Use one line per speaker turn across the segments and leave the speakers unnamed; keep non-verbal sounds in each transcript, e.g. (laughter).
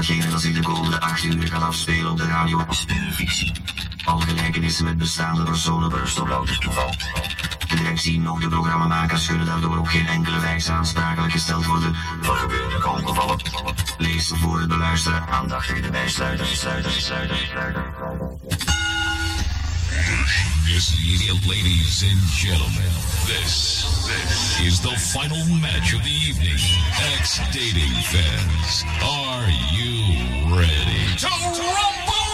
geeft als ik de komende 8 uur kan afspelen op de radio.
Speelvisie.
Al gelijkenissen met bestaande personen berust op louter toeval. De directie nog de programmamakers kunnen daardoor op geen enkele wijze aansprakelijk gesteld worden voor gebeurlijke ongevallen. Lees voor het beluisteren aandachtig de bijsluiter, sluiter, sluiter, sluiter.
Ladies and gentlemen, this, this is the final match of the evening. Ex dating fans, are you ready to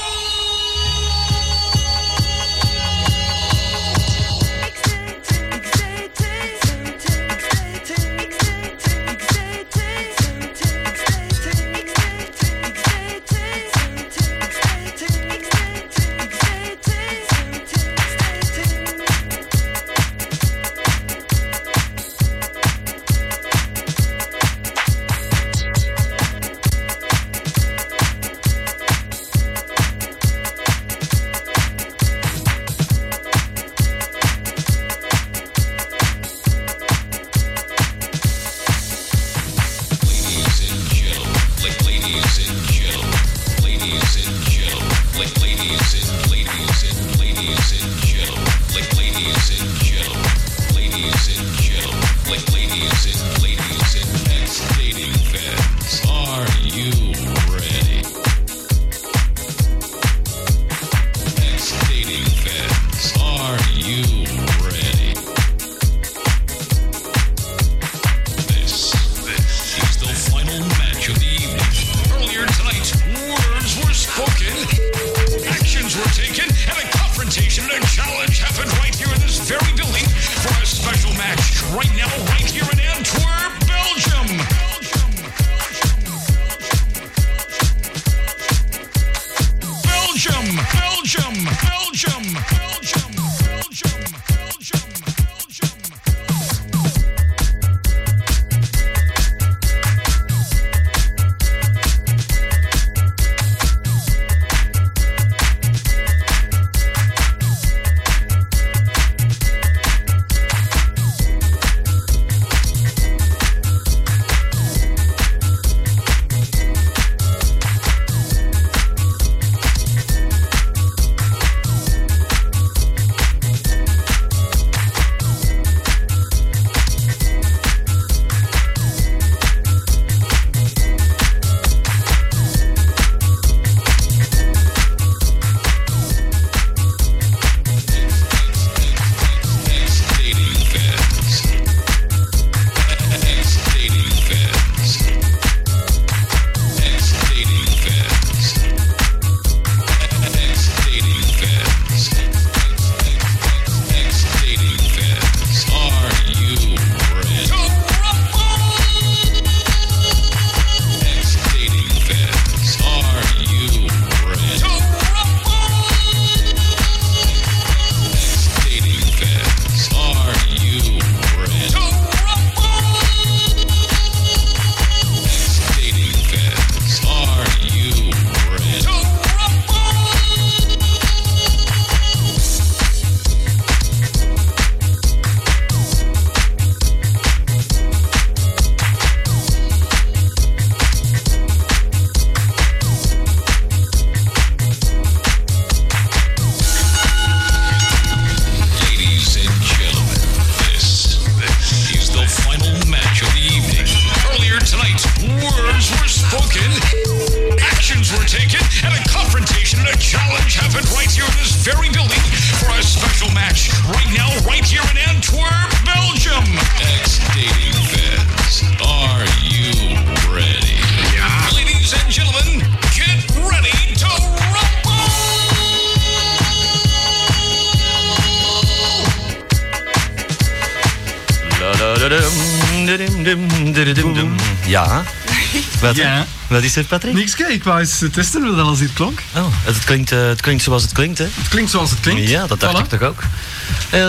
Ladies and gentlemen, like ladies and gentlemen, ladies and gentlemen, like ladies and ladies and ladies and gentlemen, like ladies and gentlemen, ladies and gentlemen, like ladies and ladies and ex dating fans, are you ready? Ex dating fans, are you ready? This, this is the final match of the evening. Earlier tonight, words were spoken, actions were taken, and a confrontation and a challenge happened right here in this very building for a special match right now, right here in Antwerp, Belgium. Belgium, Belgium, Belgium, Belgium, Belgium, Belgium, Belgium. Ladies and gentlemen, this, this is the final match of the evening. Earlier tonight, words were spoken, actions were taken, and a confrontation and a challenge happened right here in this very building for a special match right now, right here in Antwerp, Belgium. Ex dating fans, are you ready? Yeah. Ladies and gentlemen, get ready to rumble!
Ja. Wat,
Ja.
wat is er, Patrick?
Niks, kijk, ik wou eens testen hoe dat als dit klonk.
Oh, het, klinkt, eh, het klinkt zoals het klinkt, hè?
Het klinkt zoals het klinkt.
Ja, dat dacht
Voilà.
ik toch ook. Eh,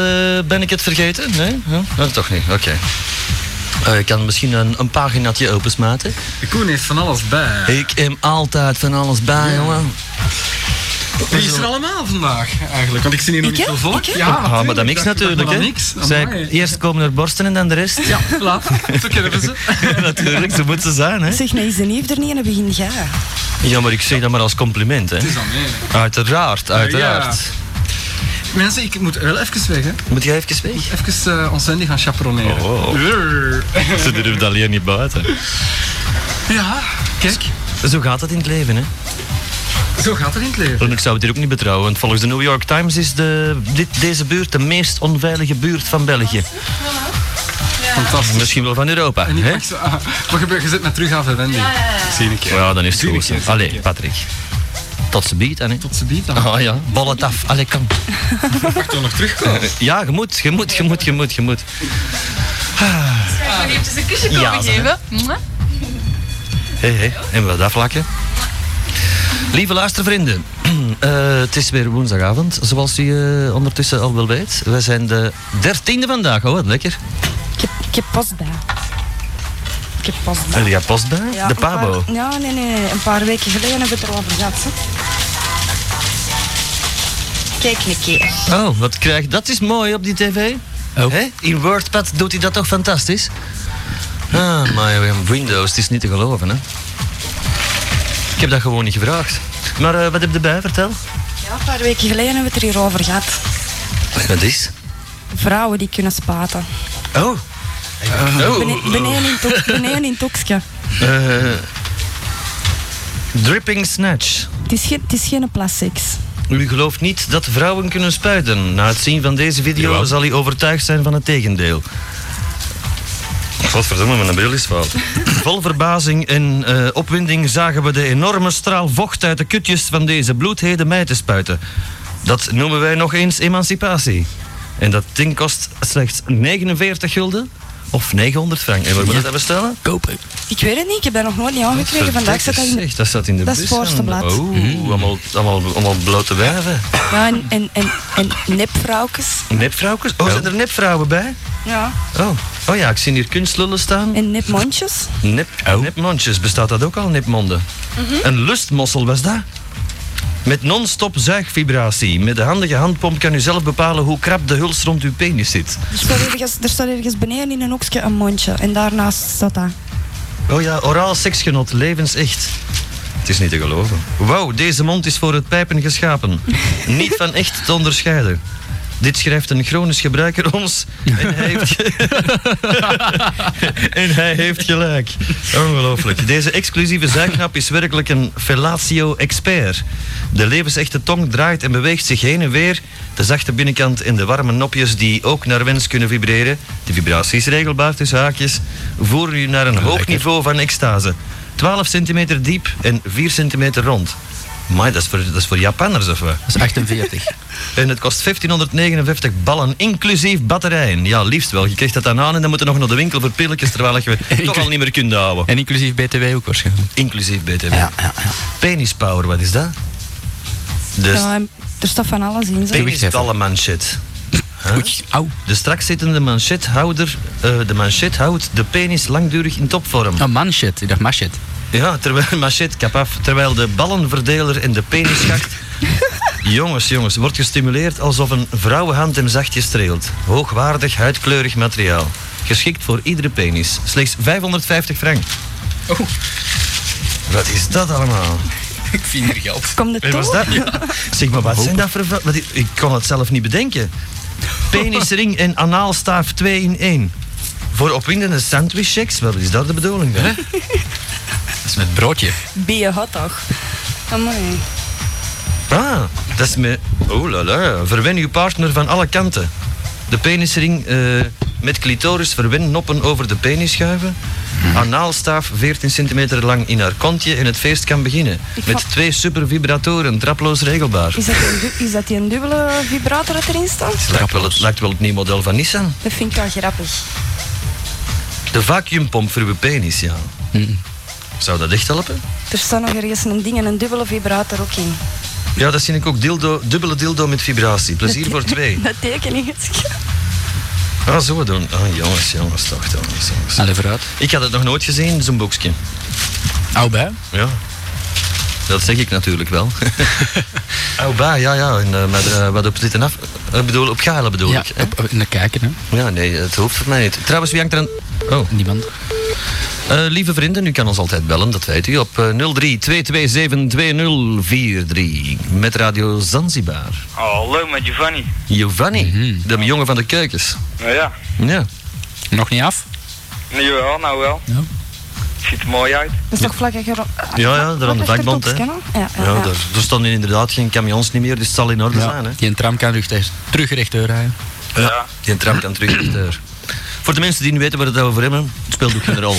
ben ik het vergeten? Nee? Huh? Oh, toch niet, oké. Eh, ik kan misschien een, een paginaatje opensmaken.
De Koen heeft van alles bij.
Ik heb altijd van alles bij, jongen.
Wie is er allemaal vandaag eigenlijk? Want ik zie hier nog
Ik,
niet
hè?
veel volk.
Ik, hè?
Ja,
Ah, maar dat
natuurlijk.
niks
Ik dacht- ik dacht
natuurlijk.
wel
Hè.
aan niks.
Zij, eerst komen er borsten en dan de rest.
Ja, (laughs) voilà. Zo kennen we ze.
natuurlijk, zo moet ze zijn. Hè.
Zeg, maar is de neef er niet en dan begin jij.
Ja, maar ik zeg dat maar als compliment. Hè.
Het is aan mij, hè.
Uiteraard, uiteraard.
Mensen, ik moet wel even weg, hè.
Moet jij even weg?
Even eh, ons Andy gaan chaperoneren.
Oh.
Urr.
(laughs) Ze durft alleen niet buiten.
Ja, kijk.
Zo gaat het in het leven, hè.
Zo gaat het in het leven.
Ik zou het hier ook niet betrouwen, want volgens de New York Times is de, dit, deze buurt de meest onveilige buurt van België.
Fantastisch.
Misschien wel van Europa,
En die
hè?
pak zo- ah, wat gebeurt? Je zit met terug af, hè, Wendy. Zie ik.
Ja, dan is het
Tuurlijk,
goed. hè.
ja,
Allee, Patrick. Tot ze biedt, hè. hè.
Tot ze biedt dan.
Ah ja, bal het af. Allee,
(laughs)
kom. Eh,
Mag toch nog terugkomen?
Ja, je moet, je moet, je moet, je moet, je moet.
Ga je eventjes een kusje komen
Ja, zeg.
geven? Mwah.
Hé, hé, en wat aflakken. Lieve luistervrienden, (clears throat) eh, het is weer woensdagavond, zoals u eh, ondertussen al wel weet. We zijn de dertiende vandaag, oh wat lekker.
Ik heb, ik heb pas bij. Ik heb pas bij.
Heb jij post bij?
Ja,
de
een paar-
Pabo.
ja, nee, nee, nee. Een paar weken geleden hebben we het erover gehad. hè. Kijk een keer.
Oh, wat krijg Dat is mooi op die tv.
Oh.
Hè? In WordPad doet hij dat toch fantastisch? Ah, maar Windows, het is niet te geloven, hè. Ik heb dat gewoon niet gevraagd. Maar eh, wat heb je erbij? Vertel.
Ja, een paar weken geleden hebben we het er hier over gehad.
Wat is?
Vrouwen die kunnen spaten.
Oh.
Bene- beneden in toks- beneden in toksje.
Eh, dripping Snatch.
Het is, geen- het is geen plastics.
U gelooft niet dat vrouwen kunnen spuiten. Na het zien van deze video
Jawel.
zal u overtuigd zijn van het tegendeel. Godverdomme, mijn bril is fout. Vol verbazing en eh, opwinding zagen we de enorme straal vocht uit de kutjes van deze bloedhede meiden spuiten. Dat noemen wij nog eens emancipatie. En dat ding kost slechts 49 gulden of 900 frank. En waar moet je dat bestellen?
Kopen.
Ik weet het niet, ik heb dat nog nooit niet aangekregen. Vandaag zat dat in de...
Zeg, dat staat in de
dat is
bus.
het voorste
en-
blad.
Oeh, allemaal, allemaal, allemaal blote wijven.
Ja, en, en, en, en nepvrouwkes.
Nepvrouwkes? Oh, zijn er nepvrouwen bij?
Ja.
Oh. oh ja, ik zie hier kunstlullen staan.
En nepmondjes.
Nep, Nepmondjes, bestaat dat ook al, nepmonden? Een lustmossel was dat? Met non-stop zuigvibratie. Met de handige handpomp kan u zelf bepalen hoe krap de huls rond uw penis zit.
Er staat ergens, er staat ergens beneden in een hoekje een mondje. En daarnaast staat dat.
Oh ja, oraal seksgenot, levensecht. Het is niet te geloven. Wauw, deze mond is voor het pijpen (laughs) geschapen. niet van echt te onderscheiden. Dit schrijft een chronisch gebruiker ons en hij heeft, (laughs) en hij heeft gelijk. Ongelooflijk. Deze exclusieve zuignap is werkelijk een fellatio-expert. De levensechte tong draait en beweegt zich heen en weer. De zachte binnenkant en de warme nopjes die ook naar wens kunnen vibreren. De vibraties regelbaar tussen haakjes voeren u naar een hoog niveau van extase. 12 centimeter diep en 4 centimeter rond. Maar dat is voor, dat is voor Japanners of wat?
Dat is 48.
(laughs) En het kost 1559 ballen, inclusief batterijen. Ja, liefst wel. Je krijgt dat dan aan en dan moet je nog naar de winkel voor pilletjes, terwijl
(laughs)
je toch al niet meer kunt houden.
en inclusief BTW ook waarschijnlijk.
Inclusief BTW.
Ja, ja, ja.
Penispower, wat is dat? Dus
Ja, en er staat van alles in. zo.
penisballenmanchet.
Oei, au.
De straks zittende manchethouder, eh, de manchet houdt de penis langdurig in topvorm.
Oh, manchet. Ik dacht machet.
Ja, terwijl, manchet, kap af. Terwijl de ballenverdeler en de penisschacht... jongens, jongens, wordt gestimuleerd alsof een vrouwenhand hem zachtjes streelt. Hoogwaardig, huidkleurig materiaal. Geschikt voor iedere penis. Slechts 550 frank. Oh. Wat is dat allemaal?
Ik vind hier geld. Oh.
Komt het
Hey, was
toch?
dat? Zeg maar, wat zijn dat voor... va- Wat, i- ik kon het zelf niet bedenken. Penisring en anaalstaaf 2 in 1. Voor opwindende sandwichchecks, wat is dat de bedoeling? Hè?
Dat is met broodje.
Ben je hot toch? Amai.
Ah, dat is me. Oh la la. Verwen uw partner van alle kanten. De penisring eh, met clitoris verwen noppen over de penis schuiven.
Hm.
Anaalstaaf 14 centimeter lang in haar kontje en het feest kan beginnen.
Ik
Met
va-
twee supervibratoren, traploos regelbaar.
Is dat, die, du- is dat die een dubbele vibrator dat erin staat?
Lijkt wel, het, lijkt wel het nieuwe model van Nissan.
Dat vind ik wel grappig.
De vacuumpomp voor uw penis, ja.
Hm.
Zou dat echt helpen?
Er staat nog ergens een ding en een dubbele vibrator ook in.
Ja, dat zie ik ook. Dildo, dubbele dildo met vibratie. Plezier voor
(laughs)
twee.
Dat tekeningetje.
Ah, zo doen. Ah, jongens, jongens, toch, jongens, jongens.
Allee, vooruit.
Ik had het nog nooit gezien, zo'n boekje.
Au bij.
Ja. Dat zeg ik natuurlijk (laughs) wel. Au, ba, Oh, ja, ja. En, eh, maar eh, wat op zitten af... Ik bedoel, op galen bedoel
Ja,
ik. hè?
op, op- naar kijken, hè.
Ja, nee, het hoeft voor mij niet. Trouwens, wie hangt er een... Oh.
Niemand.
Eh, lieve vrienden, u kan ons altijd bellen, dat weet u, op eh, 03-227-2043 met Radio Zanzibar.
Hallo Oh, met Giovanni.
Giovanni, de jongen van de keukens.
Nou ja,
Mhm. Ja,
Nog niet af?
nu wel, nou wel.
Ja.
Ziet er mooi uit.
Dat is toch vlak achter...
ja, ja daar aan de vakbond. Hè.
Ja, ja,
Ja,
ja.
daar, daar stonden inderdaad geen camions niet meer, dus het zal in orde zijn. Hè.
Die een tram kan terug, terug rechtdoor rijden.
Ja.
Die tram kan terug naar de deur. Voor de mensen die niet weten waar het over hebben, het speelt ook geen rol.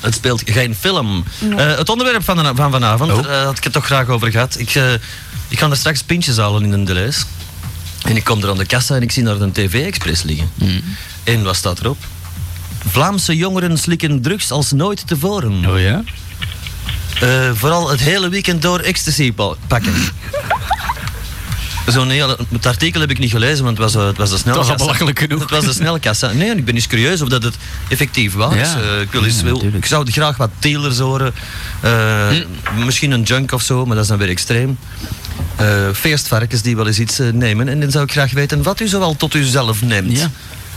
Het speelt geen film. Eh, het onderwerp van, de- van vanavond eh, had ik het toch graag over gehad. Ik, eh, ik ga er straks pintjes halen in een Deleuze. En ik kom er aan de kassa en ik zie naar de TV-express liggen. En wat staat erop? Vlaamse jongeren slikken drugs als nooit tevoren.
Oh ja?
Eh, vooral het hele weekend door ecstasy pa- pakken. Zo'n hele, het artikel heb ik niet gelezen, want het was, eh, het was de snelle
Dat was
kassa.
al belachelijk genoeg.
Het was de snelle kassa. Nee, en ik ben eens curieus of dat het effectief was.
Ja.
Eh, ik, wil eens,
Ja,
wil-
natuurlijk.
ik zou graag wat dealers horen. Eh,
Hm.
Misschien een junk of zo, maar dat is dan weer extreem. Eh, feestvarkens die wel eens iets eh, nemen. En dan zou ik graag weten wat u zoal tot uzelf neemt.
Ja.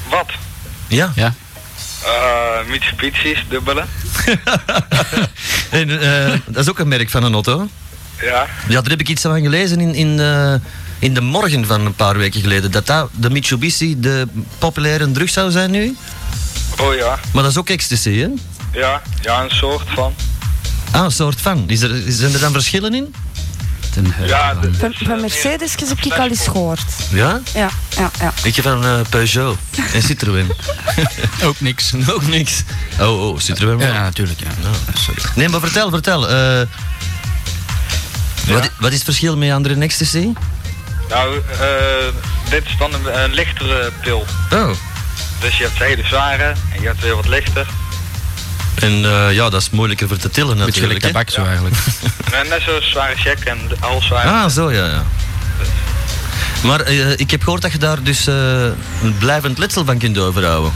Wat?
ja.
Ja.
Eh Mitsubishi's, dubbele.
En, eh, dat is ook een merk van een auto.
Ja.
Ja, daar heb ik iets van gelezen in, in, eh, in de morgen van een paar weken geleden. Dat, dat de Mitsubishi de populaire drug zou zijn nu.
Oh ja.
Maar dat is ook ecstasy, hè?
Ja. Ja, een soort van.
Ah, een soort van. Is er, zijn er dan verschillen in?
Ten heuvel.
Ja, eh, de-
Van, van Mercedes heb ik al eens gehoord.
Ja?
Ja, ja, ja.
Ik heb van eh, Peugeot en Citroën.
Ook niks.
(laughs) ook niks. Oh, oh, Citroën wel.
Ja, natuurlijk. Ja. Sorry.
Nee, maar vertel, vertel. eh, wat, wat is het verschil met andere ecstasy?
Nou, eh, dit is dan een, een lichtere pil.
Oh.
Dus je hebt de hele zware en je hebt weer wat lichter.
En eh, ja, dat is moeilijker voor te tillen
Beetje gelijk
natuurlijk. hè?
tabak zo eigenlijk. (laughs)
En Eh, net zo'n zware check en de- al zwaar.
Ah, zo ja, ja. Maar eh, ik heb gehoord dat je daar dus eh, een blijvend letsel van kunt overhouden.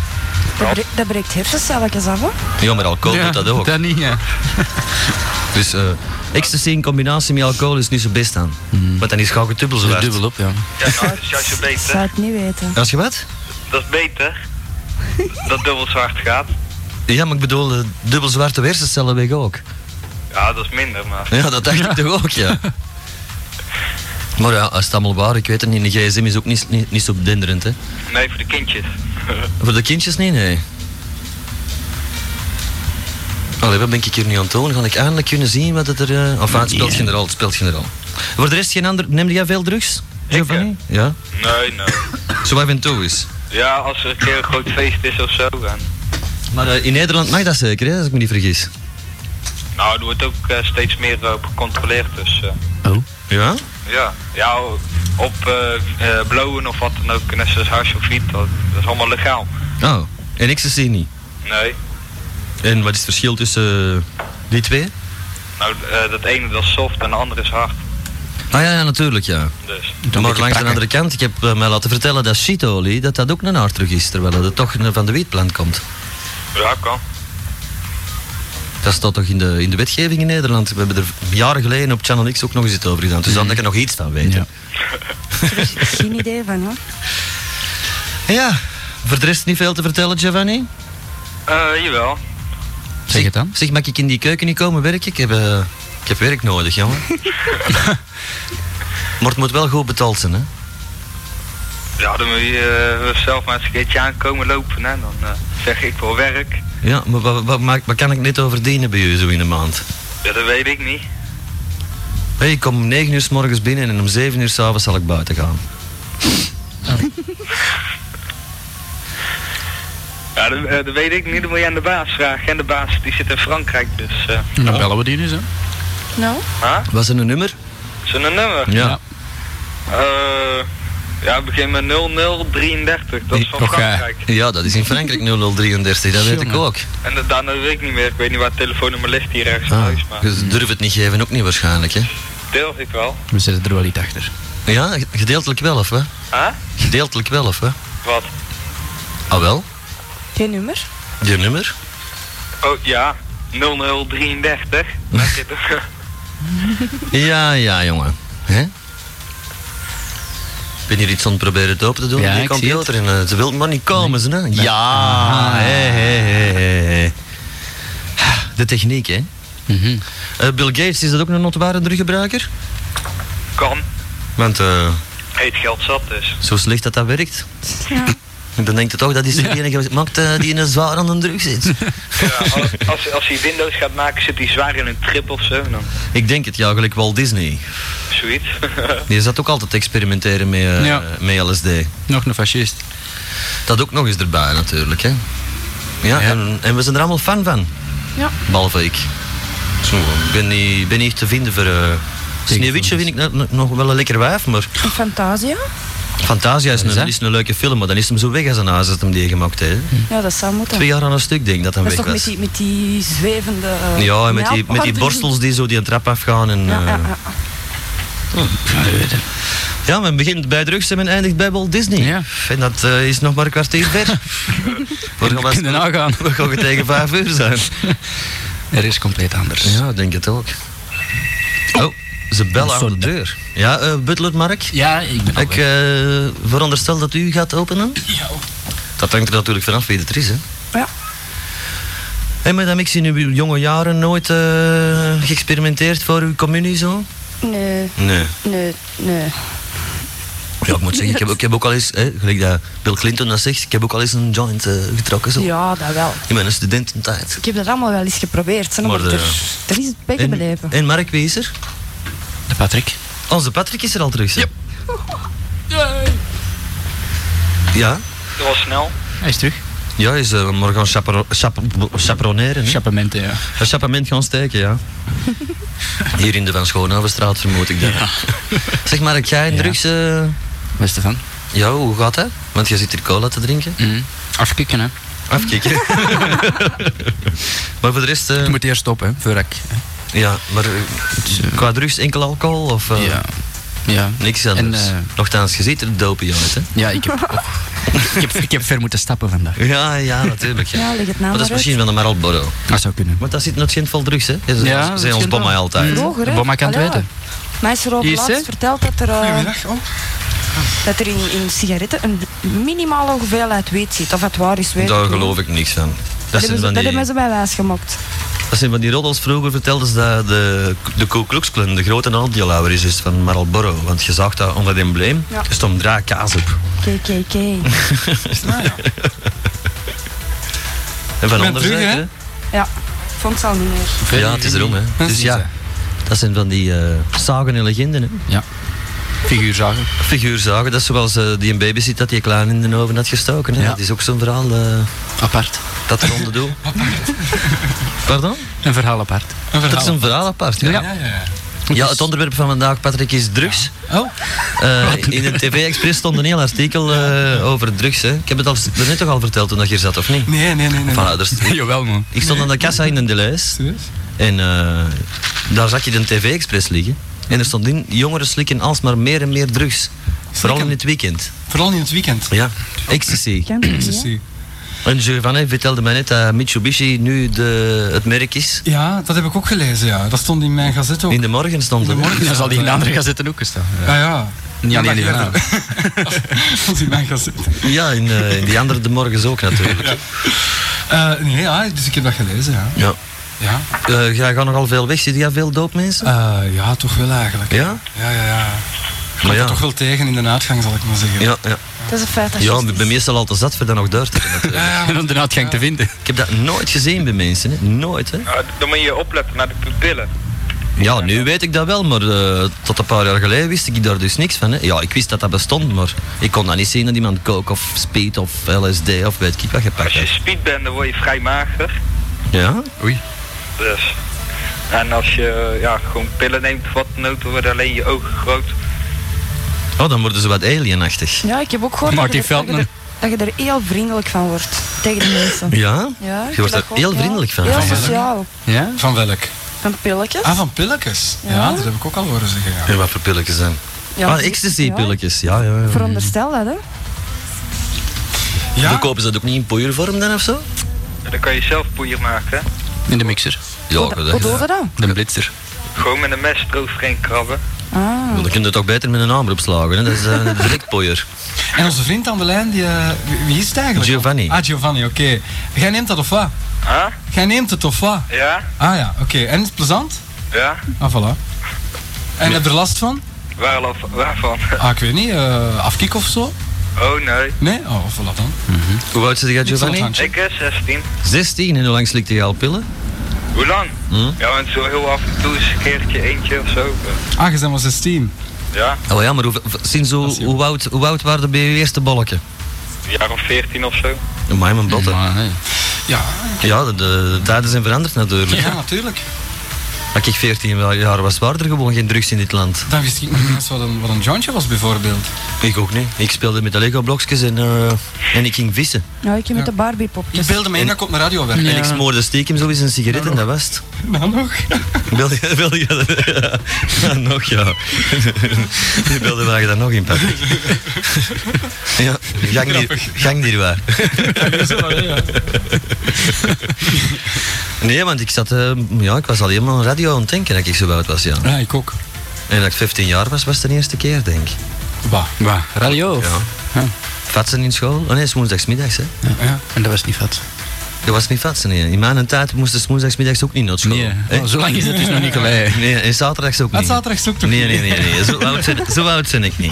Dat, bre dat breekt hersencelletjes af, hoor.
Ja, maar alcohol
Ja,
doet dat ook.
Dat niet, ja.
Dus eh ecstasy in combinatie met alcohol is niet zo best aan. Want dan is gauw het dubbel zo
Dus
waard.
dubbel op, ja.
Ja, nou, dat is juist zo
Ik zou
beter.
het niet weten.
Als je wat?
Dat is beter. Dat dubbel zwart gaat.
Ja, maar ik bedoel, eh, dubbel zwarte hersencellen weg ook.
Ja, dat is minder, maar...
Ja, dat dacht ik toch ook,
(laughs)
ja. Maar ja, als het allemaal waar, ik weet het niet. De gsm is ook niet, niet, niet zo denderend, hè.
Nee, voor de kindjes. (laughs)
Voor de kindjes niet, nee. Allee, wat ben ik hier nu aan het doen? Ga ik eindelijk kunnen zien wat het er... eh, Of ah, het speelt geen rol, het speelt geen rol. Voor de rest geen ander... Neem jij veel drugs? Giovanni? Ja.
Nee, nee.
Zo af en toe is.
Ja, als er een keer een groot feest is of zo. En,
Maar eh, in Nederland mag dat zeker, hè, als ik me niet vergis.
nou, er wordt ook eh, steeds meer eh, op gecontroleerd, dus eh,
Oh.
Ja?
ja. Ja, op eh, eh, blowen of wat dan ook, net zoals hash of wiet, dat, dat is allemaal legaal.
Oh, en ecstasy niet.
Nee,
En wat is het verschil tussen eh, die twee?
nou, eh, dat ene dat is soft en de andere is hard.
Ah ja, ja natuurlijk, ja.
Dus,
maar
een beetje
langs de
prakken.
andere kant, ik heb eh, mij laten vertellen dat sheetolie, dat dat ook een hartrug is, terwijl het toch eh, van de wietplant komt.
ja, kan.
Dat staat toch in de, in de wetgeving in Nederland. We hebben er jaren geleden op Channel X ook nog eens iets over gedaan. Dus dan dat je nog iets van weet. Ja.
Ja.
Geen idee van, hoor.
voor de rest niet veel te vertellen, Giovanni.
Eh, jawel.
Zeg het dan.
Zeg, mag ik in die keuken niet komen werken? Ik heb, eh, ik heb werk nodig, jongen.
(laughs)
maar het moet wel goed betaald zijn, hè?
Ja, dan moet je eh, zelf maar eens een keertje aankomen lopen en dan eh, zeg ik voor werk.
Ja, maar wat, wat, maak- wat kan ik net overdienen bij u zo in de maand?
Ja, dat weet ik niet.
Hé, ik kom om 9 uur s morgens binnen en om 7 uur s'avonds zal ik buiten gaan.
Ja, dat, eh, dat weet ik niet, dan moet je aan de baas vragen. En de baas die zit in Frankrijk, dus... eh
En dan bellen we die eens, hè.
Nou?
huh?
Was er een nummer?
Zijn een nummer?
Ja.
Eh ja, het begint met 0033. Dat is van
Toch, eh,
Frankrijk.
Ja, dat is in
(laughs)
Frankrijk 0033, dat weet ik
Jongen.
ook.
En dat, daarna weet ik niet meer. Ik weet niet waar het telefoonnummer ligt hier rechts in
Ah,
huis. Maar
je durft het niet geven, ook niet waarschijnlijk, hè?
deel ik wel.
We zetten er wel iets achter.
Ja, gedeeltelijk wel, of wat?
Huh?
Gedeeltelijk wel, of wat?
Wat?
Ah wel,
Geen nummer?
je nummer?
Oh ja, 0033. Daar zit het. (laughs)
Ja, ja, jongen. Hè? Ben hier iets aan het proberen het open te doen?
Ja,
die
ik zie
computer. En, eh, ze wil maar niet komen, ze. Hè? Ja, hé, hé, hé, hé, hé. De techniek, hè?
Mhm.
Eh, Bill Gates, is dat ook een notoire druggebruiker?
Kan.
Want eh,
Heet geld zat dus.
zo slecht dat dat werkt.
Ja.
Dan denkt het toch dat is de enige maakt eh, die in een zwaar aan de drug (laughs) zit.
Ja, als, als, als hij Windows gaat maken, zit hij zwaar in een trip of zo. Dan.
Ik denk het ja, gelijk Walt Disney.
Zoiets. (laughs)
Die zat ook altijd te experimenteren met, eh,
Ja.
met LSD.
Nog een fascist.
Dat ook nog eens erbij natuurlijk. Hè. Ja, En, en we zijn er allemaal fan van.
Ja.
Behalve ik. Zo, ik ben niet, ben niet echt te vinden voor... eh Sneeuwwitje vind ik no- no- nog wel een lekker wijf, maar
En Fantasia?
Fantasia is,
is
een,
dat?
is een leuke film, maar dan is hem zo weg als een huis dat hem die gemaakt heeft. hè.
Ja, dat zou moeten.
Twee jaar aan een stuk denk ik dat hem
dat is
weg
toch met
was.
die, met die zwevende... eh,
Ja, en met die, met die
nijlpaarden?
borstels die zo die een trap afgaan. En,
Ja,
eh,
ja, ja.
Ja, men begint bij drugs en men eindigt bij Walt Disney.
Ja.
En dat eh, is nog maar een kwartier ver. (laughs) we, gaan
We kunnen nagaan.
(laughs) we gaan tegen vijf uur zijn.
Er is compleet anders.
Ja, ik denk het ook. Oh, ze bellen aan de deur. Ja, eh, butler Mark.
Ja, ik ben al
Ik
weg.
eh, veronderstel dat u gaat openen. Ja. Dat hangt er natuurlijk vanaf wie het is, hè.
Ja.
Hé, madame, ik zie in uw jonge jaren nooit eh, geëxperimenteerd voor uw communie, zo?
Nee,
Nee.
nee, nee.
Ja, ik moet zeggen, ik heb, ook- ik heb ook al eens, hè, gelijk dat Bill Clinton dat zegt, ik heb ook al eens een joint eh, getrokken, zo.
Ja, dat wel.
In mijn studententijd.
Ik heb dat allemaal wel eens geprobeerd, hè, maar,
Maar, eh,
er, er is het pech in mijn leven.
en Mark, wie is er?
eh, De Patrick.
Onze Patrick is er al terug, hè? Ja.
Dat was snel.
Hij is terug.
Ja, hij is eh, morgen chapero- chap- chaperoneren, hè.
Chappementen, ja.
Een chaperement gaan steken, ja. Hier in de Van Schoonhavenstraat vermoed ik dat. (laughs) Zeg maar, ik ga in
Ja.
drugs... eh,
Beste van.
Ja, hoe gaat dat? Want je zit hier cola te drinken.
Mhm. Afkikken, hè.
Afkikken. (laughs) maar voor de rest... eh,
Je moet eerst stoppen, hè. Voor ik...
Ja, maar eh, qua drugs enkel alcohol of eh,
ja. Ja.
niks anders?
En, eh,
Nochtans, je ziet er dopen uit, hè?
Ja, ik heb... (laughs) oh. ik, heb, ik heb ver moeten stappen vandaag.
Ja, ja, natuurlijk. Ja.
Ja, leg het
maar
nou maar
dat is
uit.
misschien van de Marlboro.
Dat zou kunnen.
Want dat zit nog geen vol drugs, hè? Ze
Ja,
zijn ons
misschien
bij mij
wel.
altijd.
Vroeger, hè?
Wat maar kan het
Allee,
weten.
Mij is er ook
Hier is
laatst
ze.
verteld dat er, eh,
Goedemiddag. Oh.
dat er in, in sigaretten een minimale hoeveelheid weet zit. Of het waar is, weet
Daar geloof ik niks van.
Dat
Dat zijn
hebben,
van
ze, dat
die...
hebben ze mij wijsgemaakt.
Dat zijn van die roddels. Vroeger vertelden ze dat de, de Ku Klux Klan de grote aandeelhouder is, is van Marlboro. Want je zag dat onder het embleem.
Ja.
Er stond draai kaas op.
KKK.
(laughs) En van
Met
andere
terug,
zijde-
Ja, vond ze al niet meer.
Ja, het is erom, hè.
Dat
Dus
is
ja,
het,
dat zijn van die eh zagen en legenden, hè.
Ja. Figuurzagen.
Figuurzagen, dat is zoals eh, die een baby ziet dat die klaar in de oven had gestoken, hè.
Ja.
Dat is ook zo'n verhaal eh,
Apart.
dat er onder doel. Pardon?
Een verhaal apart.
Een
Dat is
verhaal.
een verhaal apart, ja.
Ja, ja, ja.
Ja, het onderwerp van vandaag, Patrick, is drugs.
Oh.
Eh, in de TV Express stond een heel artikel eh, over drugs. Hè. Ik heb het al, net toch al verteld toen dat je hier zat, of niet?
Nee, nee, nee. nee.
Voilà, dus
(laughs) Jawel, man.
ik stond aan de kassa in een Deleuze
Serieus?
en eh, daar zag je de TV Express liggen. En er stond in, jongeren slikken alsmaar meer en meer drugs. Vooral in het weekend.
Vooral in het weekend.
Ja, ecstasy.
Kent het niet, hè?
Ecstasy.
En Giovanni vertelde mij net dat Mitsubishi nu de, het merk is.
Ja, dat heb ik ook gelezen, ja. Dat stond in mijn gazet ook.
In de morgen stond
In de
het.
morgen.
Dan zal die in de andere gazetten ook gestaan.
Ja, ja.
Niet alleen
Ja,
die
dat-
verhaal.
(laughs) Dat stond in mijn gazet.
Ja, in, eh, in die andere de morgens ook natuurlijk.
Eh, nee, ja, dus ik heb dat gelezen, ja.
Ja.
Ja,
Eh, ga, ga nogal veel weg. Zit jij veel doop, mensen?
Eh, ja toch wel eigenlijk.
Ja?
Ja, ja, ja.
Maar
Maar
ja.
toch wel tegen in de uitgang, zal ik maar zeggen.
Ja, ja.
Dat is een feit. Dat
Ja,
juist
ik
is.
ben meestal al te zat voor dat nog door te hebben, (laughs) natuurlijk.
En (laughs) om de uitgang te vinden.
Ik heb dat nooit gezien bij mensen, hè. nooit. Hè.
Ja, dan moet je opletten naar de pupillen.
Ah, Ja, nu weet ik dat wel, maar eh, tot een paar jaar geleden wist ik daar dus niks van. Hè. Ja, ik wist dat dat bestond, maar ik kon dan niet zien dat iemand coke of speed of LSD of weet ik wat gepakt
Als je
had.
speed bent, dan word je vrij mager.
Ja?
Dus. En als je eh, ja, gewoon pillen neemt, of wat dan ook, dan worden alleen je ogen groot.
Oh, dan worden ze wat alienachtig.
Ja, ik heb ook gehoord dat
Marty
je, er- dat, je er, dat je er heel vriendelijk van wordt. Tegen de mensen.
Ja?
Ja, ik
Je wordt
heb
er
dat gehoord,
heel
ja.
vriendelijk van. Ah,
Heel sociaal.
Ja?
Van welk?
Van pilletjes.
Ah, van pilletjes. Ja,
Ja.
dat heb ik ook al horen zeggen, ja.
En wat voor pilletjes dan?
Ja,
ah, ecstasy-pilletjes, ja, ja. ja.
Ja, veronderstel dat, hè.
Ja,
Verkopen ze dat ook niet in poeiervorm dan of zo?
En dan kan je zelf poeier maken.
In de mixer.
Ja,
Hoe, da- hoe doe je dat?
De blitzer.
Gewoon met een mes eroverheen krabben.
Ah.
Dan kun je toch beter met een arm opslagen. Hè? Dat is eh, een direct
En onze vriend aan de lijn, die, eh, wie- wie is het eigenlijk?
Giovanni.
Ah, Giovanni, oké. Jij neemt dat of wat?
Huh?
Jij neemt het of wat?
Ja?
Ah ja, oké. En is het plezant?
Ja?
Ah, voilà. En heb je er last van?
Waar, al- waarvan? (laughs)
Ah, ik weet niet. eh afkick of zo?
Oh nee.
Nee? Oh, voilà dan.
(laughs) Hoe oud zit jij,
zal het
Giovanni?
handje.
Ik eh, is 16.
16. En hoe lang slikte je al pillen?
Hoe lang?
Hm?
Ja, want zo heel af en toe is een keertje eentje of zo.
Ah, je bent maar 16.
Ja,
Oh ja, maar hoe, sinds
Dat is
hoe,
jong.
hoe, oud, hoe oud waren de bij je eerste bolken?
een jaar of 14 of zo.
Amai, mijn botten.
Maar, hey.
Ja,
Ja, de, de tijden zijn veranderd natuurlijk.
ja, natuurlijk.
Als ik 14 jaar was, waren er gewoon geen drugs in dit land.
Dan wist ik nog niet eens wat een, wat een jointje was, bijvoorbeeld.
Ik ook niet. Ik speelde met de Lego-blokjes en, eh, en ik ging vissen.
Nou, ik met de
Ik
Barbie-popjes.
beelde me in dat ik op mijn radio werkte.
En ik smoorde stiekem zo eens een sigaret en dat was het.
Nou nog.
Belde, belde je (laughs) dat? Ja, ja, nog ja. (laughs) Je belde waar je daar nog in pakt. (laughs) Ja, gangdier, gangdier waar. Nee, want ik zat, eh, ja, ik was al helemaal aan radio aan het denken dat ik zo oud was, ja.
Ja, ik ook.
En dat ik 15 jaar was, was het de eerste keer, denk ik.
Bah.
Waar? Radio? of-
Ja. Fatsen in school? Oh nee, het is woensdagsmiddags, hè.
Ja.
En dat was niet vet.
Dat was niet fatsen, nee. In mijn tijd moesten ze woensdagsmiddags ook niet naar school.
Nee.
hè.
Oh, zo lang (laughs) is het dus nog niet geleden. Ah,
Nee, en zaterdags ook niet.
Het zaterdags ook toch
Nee, nee,
niet?
nee, nee. Zo, oud zijn, zo oud zijn ik niet.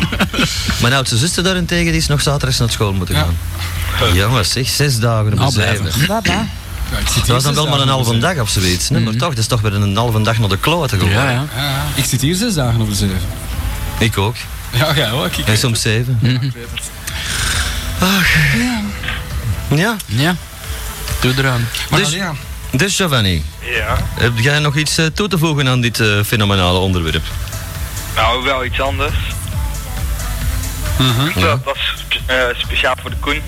Mijn oudste zuster daarentegen die is nog zaterdags naar school moeten
Ja.
gaan. Ja, maar zeg, zes dagen op
Nou,
een zeven.
blijven.
Baba.
Ja, ik zit hier
Dat was dan
zes
wel maar een
dagen op
halve
de
dag of zoiets. Nee, maar toch, dat is toch weer een halve dag naar de kloten gewoon.
Ja, ja.
zeven. Ja, ja. Ik zit hier zes dagen over zeven.
Ik ook.
Ja, ja, ook. Ik
En soms zeven. Ach. Ja.
Ja. Doe eraan.
Maar
Dus-
allee, ja.
Dus Giovanni,
Ja.
heb jij nog iets eh, toe te voegen aan dit eh, fenomenale onderwerp?
Nou, wel iets anders. Dat was eh, speciaal voor de Koen.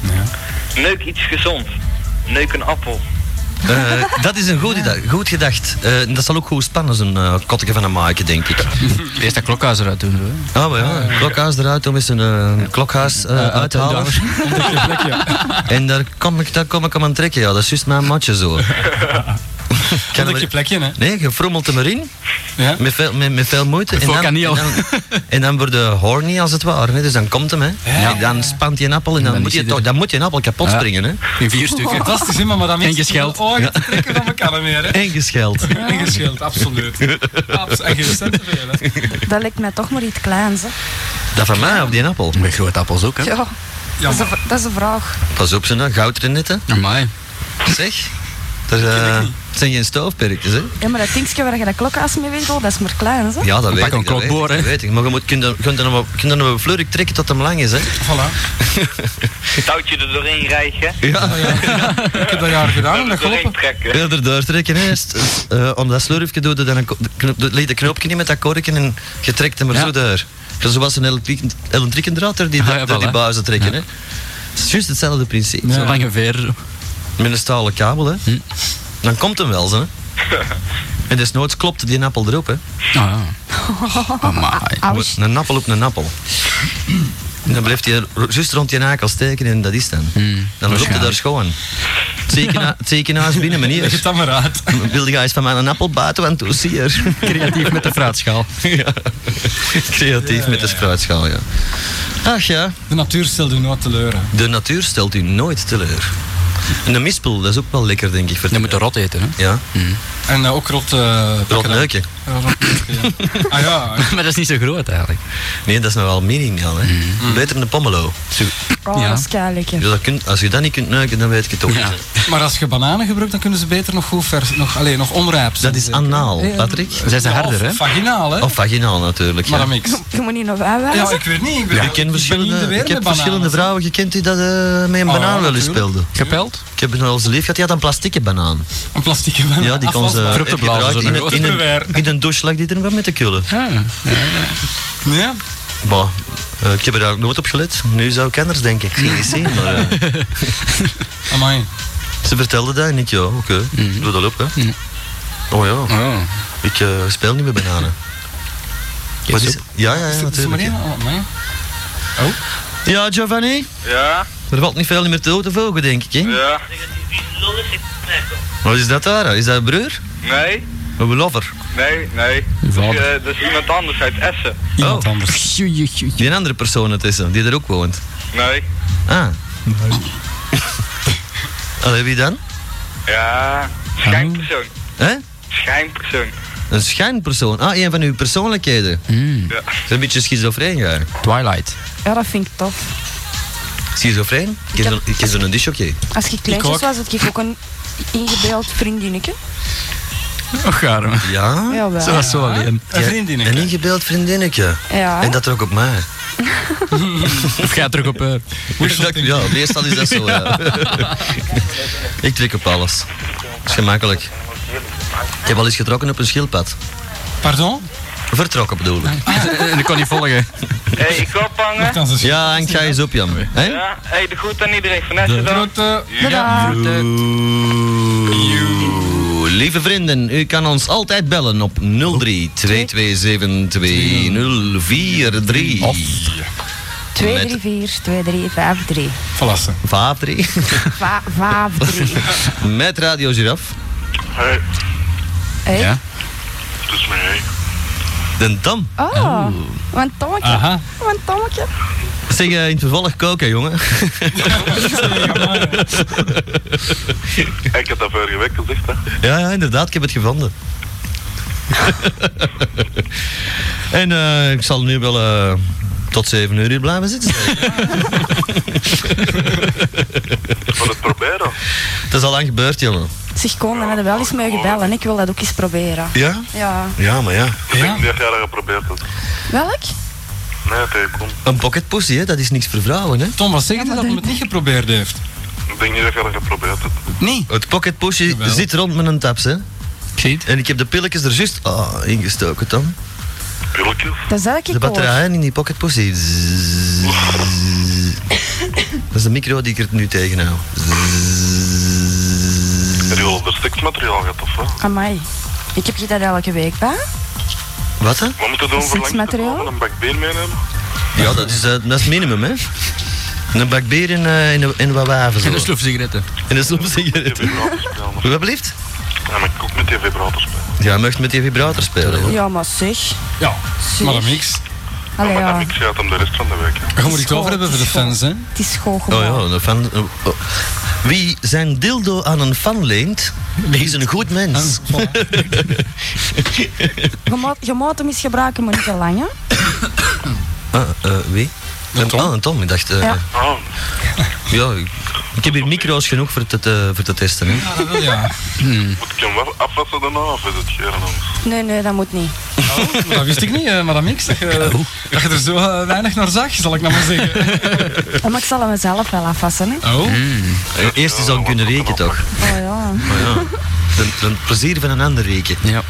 Ja.
Neuk iets gezond. Neuk een appel.
Eh, dat is een goed, idee- goed gedacht. Eh, dat zal ook goed spannen, zo'n eh kotteke van een maken, denk ik.
Eerst dat klokhuis eruit doen. Zo. hè.
Ah, maar ja, klokhuis eruit om eens een eh, klokhuis eh, uit te halen. (laughs) En daar kom, ik, daar kom ik hem aan trekken, ja. Dat is juist mijn matje
(laughs)
zo. Kan
Ontdek
er-
je plekje, hè?
Nee, je frommelt hem erin,
Ja.
met veel, met, met veel moeite. En
Voor
dan,
kan niet
en,
al.
dan, (laughs) en dan wordt de horny als het ware, hè. dus dan komt hem. Hè.
Ja.
En Dan spant je een appel en dan,
dan
moet,
is
je
hij
toch,
er.
dan moet je een appel kapot
Ja.
springen. Hè.
In vier
Oh.
stukken.
Fantastisch, hè, maar maar dat mensen...
gescheld.
Oh, je trekken van elkaar meer, hè?
(laughs) En gescheld.
En gescheld,
(laughs)
absoluut. Abs en geen cent te veel, hè?
Dat lijkt mij toch maar iets kleins. Hè.
Dat van mij op die appel.
Met grote appels ook, hè?
Ja, dat is,
Jammer.
een, dat is een vraag.
Pas op, zijn nou goudrenetten.
Amai.
Zeg, er, eh, het zijn geen stoofperkjes. Hè.
Ja, maar dat dingetje waar je dat klokhuis mee winkelt, dat is maar kleins. Hè.
Ja, dat weet
pak
ik.
een
dat weet
klokboor,
ik, dat
hè.
weet ik. Maar je moet kunnen kunnen kunnen een fleurig trekken tot hem lang is, hè?
Voilà.
Touwtje er doorheen rijgen.
Ja.
(laughs) Ik heb dat jaar gedaan en dat
doorheen
gelopen.
trekken.
Heel erdoor trekken, hè? St- st- eh, om dat slurfje doe je dan een ko- de knop, doe- leg de knoopje in met dat korken en je trekt hem er
Ja.
zo door. Dat is zoals een elektriek- elektriekendraad door die,
Ah, ja,
door die
voilà.
buizen trekken, hè? Het is juist hetzelfde principe.
Zo lang ongeveer.
Met een stalen kabel, hè?
Hm.
Dan komt hem wel, zo, hè?
(laughs)
En desnoods klopt die appel erop, hè?
Ah, ja. Amai.
Ouch.
Een appel op een appel. En dan blijft hij ro- juist rond je nakel steken en dat is dan.
Hm.
dan loopt hij daar schoon. Het
(laughs)
ziekenhu- Het ziekenhuis binnen,
Leg het
meneer.
dan maar uit.
Wilde jij eens van mij een appel buiten, want hoe zie je er?
(laughs)
(laughs)
Creatief met de fruitschaal.
Creatief met de spruitschaal, ja. Ach ja,
De natuur stelde u nooit teleur, hè.
de natuur stelt u nooit teleur. En een mispel, dat is ook wel lekker, denk ik. voor-
Je moet de rot eten, hè?
Ja,
En eh, ook rot... eh,
rot
pakken dan.
neukje.
Ja, rot neuken,
(laughs)
ja. Ah ja,
Maar dat is niet zo groot, eigenlijk.
Nee, dat is nou wel minimaal, hè.
Mhm.
Beter dan een pomelo.
Oh,
Ja.
dat is keilekker.
Dus dat kunt, als je dat niet kunt neuken, dan weet ik het ook
Ja.
niet. hè.
maar als je bananen gebruikt, dan kunnen ze beter nog goed vers... Nog, alleen nog onrijp zijn,
Dat is
zeker.
anaal,
Eh,
Patrick.
Zijn ze
ja,
harder,
of
hè?
Vaginaal, hè?
Of vaginaal, natuurlijk.
maar
ja.
dat mix.
Je moet niet nog aanwijzen.
Ja, ik weet niet. Ik, ben,
Ik ken
ben
verschillende,
niet de weer
ik heb
met
verschillende
bananen.
vrouwen gekend die dat eh, met een
Oh,
banaan wel eens
natuurlijk.
speelden.
Gepeld?
Ik heb nog wel eens lief gehad, die had een plastieke banaan.
Een plastieke banaan. Ah,
Ja, die kon ze
afvalbaar.
Voor op te
heb je
blazen,
gebruikt
zo
in,
nog.
een- in, een, in een douche lag die er wel met te kullen.
Ja.
Ja.
Bah, eh, ik heb er eigenlijk nooit op gelet. Nu zou ik anders denken. Ik zie het zien, maar eh,
Amai.
ze vertelde dat en ik, ja, oké,
Mhm.
doe dat op, hè. Oh ja,
Oh.
ik eh, speel niet met bananen. Wat is, ja, ja, ja,
Is het maar
natuurlijk.
één?
ja.
Oh, amai.
Ja, Giovanni,
Ja,
er valt niet veel meer te volgen, denk ik, hè.
ja.
Wat is dat daar? Is dat een broer?
Nee?
Uw lover.
Nee, nee.
Uw
Dus,
vader.
eh, dus iemand anders uit Essen.
Iemand
Oh.
anders.
Die een andere persoon het is, hè, die er ook woont.
Nee.
Ah. (laughs) Allee, wie dan?
Ja, schijnpersoon.
Hè?
Schijnpersoon.
Een schijnpersoon. Ah, een van uw persoonlijkheden.
Mm,
Ja.
Dat is een beetje schizofreen, ja.
Twilight.
Ja, dat vind ik tof.
Schizofreen?
Ik heb-
Ik is een disjockey.
Als je
Ik
kleintjes
ook.
was, had ik ook een ingebeeld vriendinnetje.
Och, garm.
Ja?
Jawel.
Ze was zo alleen.
Een vriendinnetje.
Een ingebeeld vriendinnetje.
Ja.
En dat er ook op mij.
Of gaat terug op eh, haar.
Dat- Ja, meestal is dat zo, ja. Ik trek op alles. Dat is gemakkelijk. Ik heb al eens getrokken op een schildpad.
Pardon?
Vertrokken bedoel ik.
En ik kon niet volgen.
Hé, hey, ik ophangen.
Kan ze zien.
Ja, en ga eens op, Jan. Hè?
Ja, hé, hey, de groet aan iedereen van Essen dan.
Grote.
Tadaa.
Oeh, Lieve vrienden, u kan ons altijd bellen op 03 227 2043. Of
2, 3, 4, 2, 3, 5, 3.
Verlassen.
53.
5,
(laughs)
3.
Met Radio Giraffe.
Hey,
Ja.
het is mij.
Den Dam.
Oh, want Tommeke.
Aha.
Want Tommeke.
Zeg eh, in het vervolg koken, jongen.
hè. Ik heb dat vorige week gezegd, hè.
Ja, ja, inderdaad, ik heb het gevonden. (laughs) en eh, ik zal nu wel eh, tot 7 uur hier blijven zitten.
(laughs) Voor het proberen.
Het is al lang gebeurd, jongen.
Zeg, Koen, dan hebben we wel eens mee gebellen. Ik wil dat ook eens proberen.
Ja?
Ja.
Ja, maar ja.
Ik denk niet dat jij dat geprobeerd hebt.
Welk?
Nee, tegenkom.
Een pocketpussy, hè? dat is niks voor vrouwen. Hè?
Tom, wat zeg je
Ja, maar
dat hij het niet geprobeerd heeft?
Ik denk niet dat jij dat geprobeerd hebt.
Nee.
Het pocketpussy
Jawel.
zit rond met een taps. Hè?
Ik zie het.
En ik heb de pilletjes er juist ah, ingestoken, Tom.
Pilletjes.
Dat is elke
De batterij in die pocketpussy. Zzzz. Dat is de micro die ik er nu tegen hou.
Heb je al onder seksmateriaal gehad, of wat?
Amai. Ik heb je dat elke week bij.
Wat hè?
Wat moet je doen voor lang te
Seksmateriaal?
komen? Een bak bier meenemen?
Ja, dat is, eh, dat is het minimum, hè? Een bak bier en, eh, en, en wat waven. zo.
En een sloef sigaretten.
En dat is soms
Met die
sigaretten.
vibrator spelen.
Wat blieft?
Ja, maar ik ook met die vibrator spelen.
Ja, mag met die vibrator spelen. hoor.
Ja, maar zeg.
Ja.
Zeg.
Maar een mix.
Allee,
Maar dan
ja.
mix je uit hem de rest van de week. hè.
Je moet het over hebben voor de fans, hè?
Het is gewoon
Oh ja, een fan. oh, oh. Wie zijn dildo aan een fan leent, is een goed mens.
Je moet, je moet hem eens gebruiken, maar niet te lang, hè.
(laughs) Ah, eh, wie? Een Tom. Ah, een Tom. Ik dacht, eh,
Ja.
ja.
Oh,
ik- ik heb hier micro's genoeg voor te, te- voor te testen. Hè.
Ja, dat wil ja.
moet ik hem wel afwassen daarna, of is het geren anders?
Nee, nee, dat
(laughs)
moet niet.
Maar Dat wist ik niet, eh, maar dat mix. Dat je,
Oh.
dat je er zo eh, weinig naar zag, zal ik nou maar
(laughs)
zeggen.
Oh, maar ik zal hem mezelf wel afvassen, hè.
Oh.
Eerst is dan kunnen rekenen, toch?
Oh ja.
Maar ja, (laughs) de- de- het plezier van een ander reken.
Ja.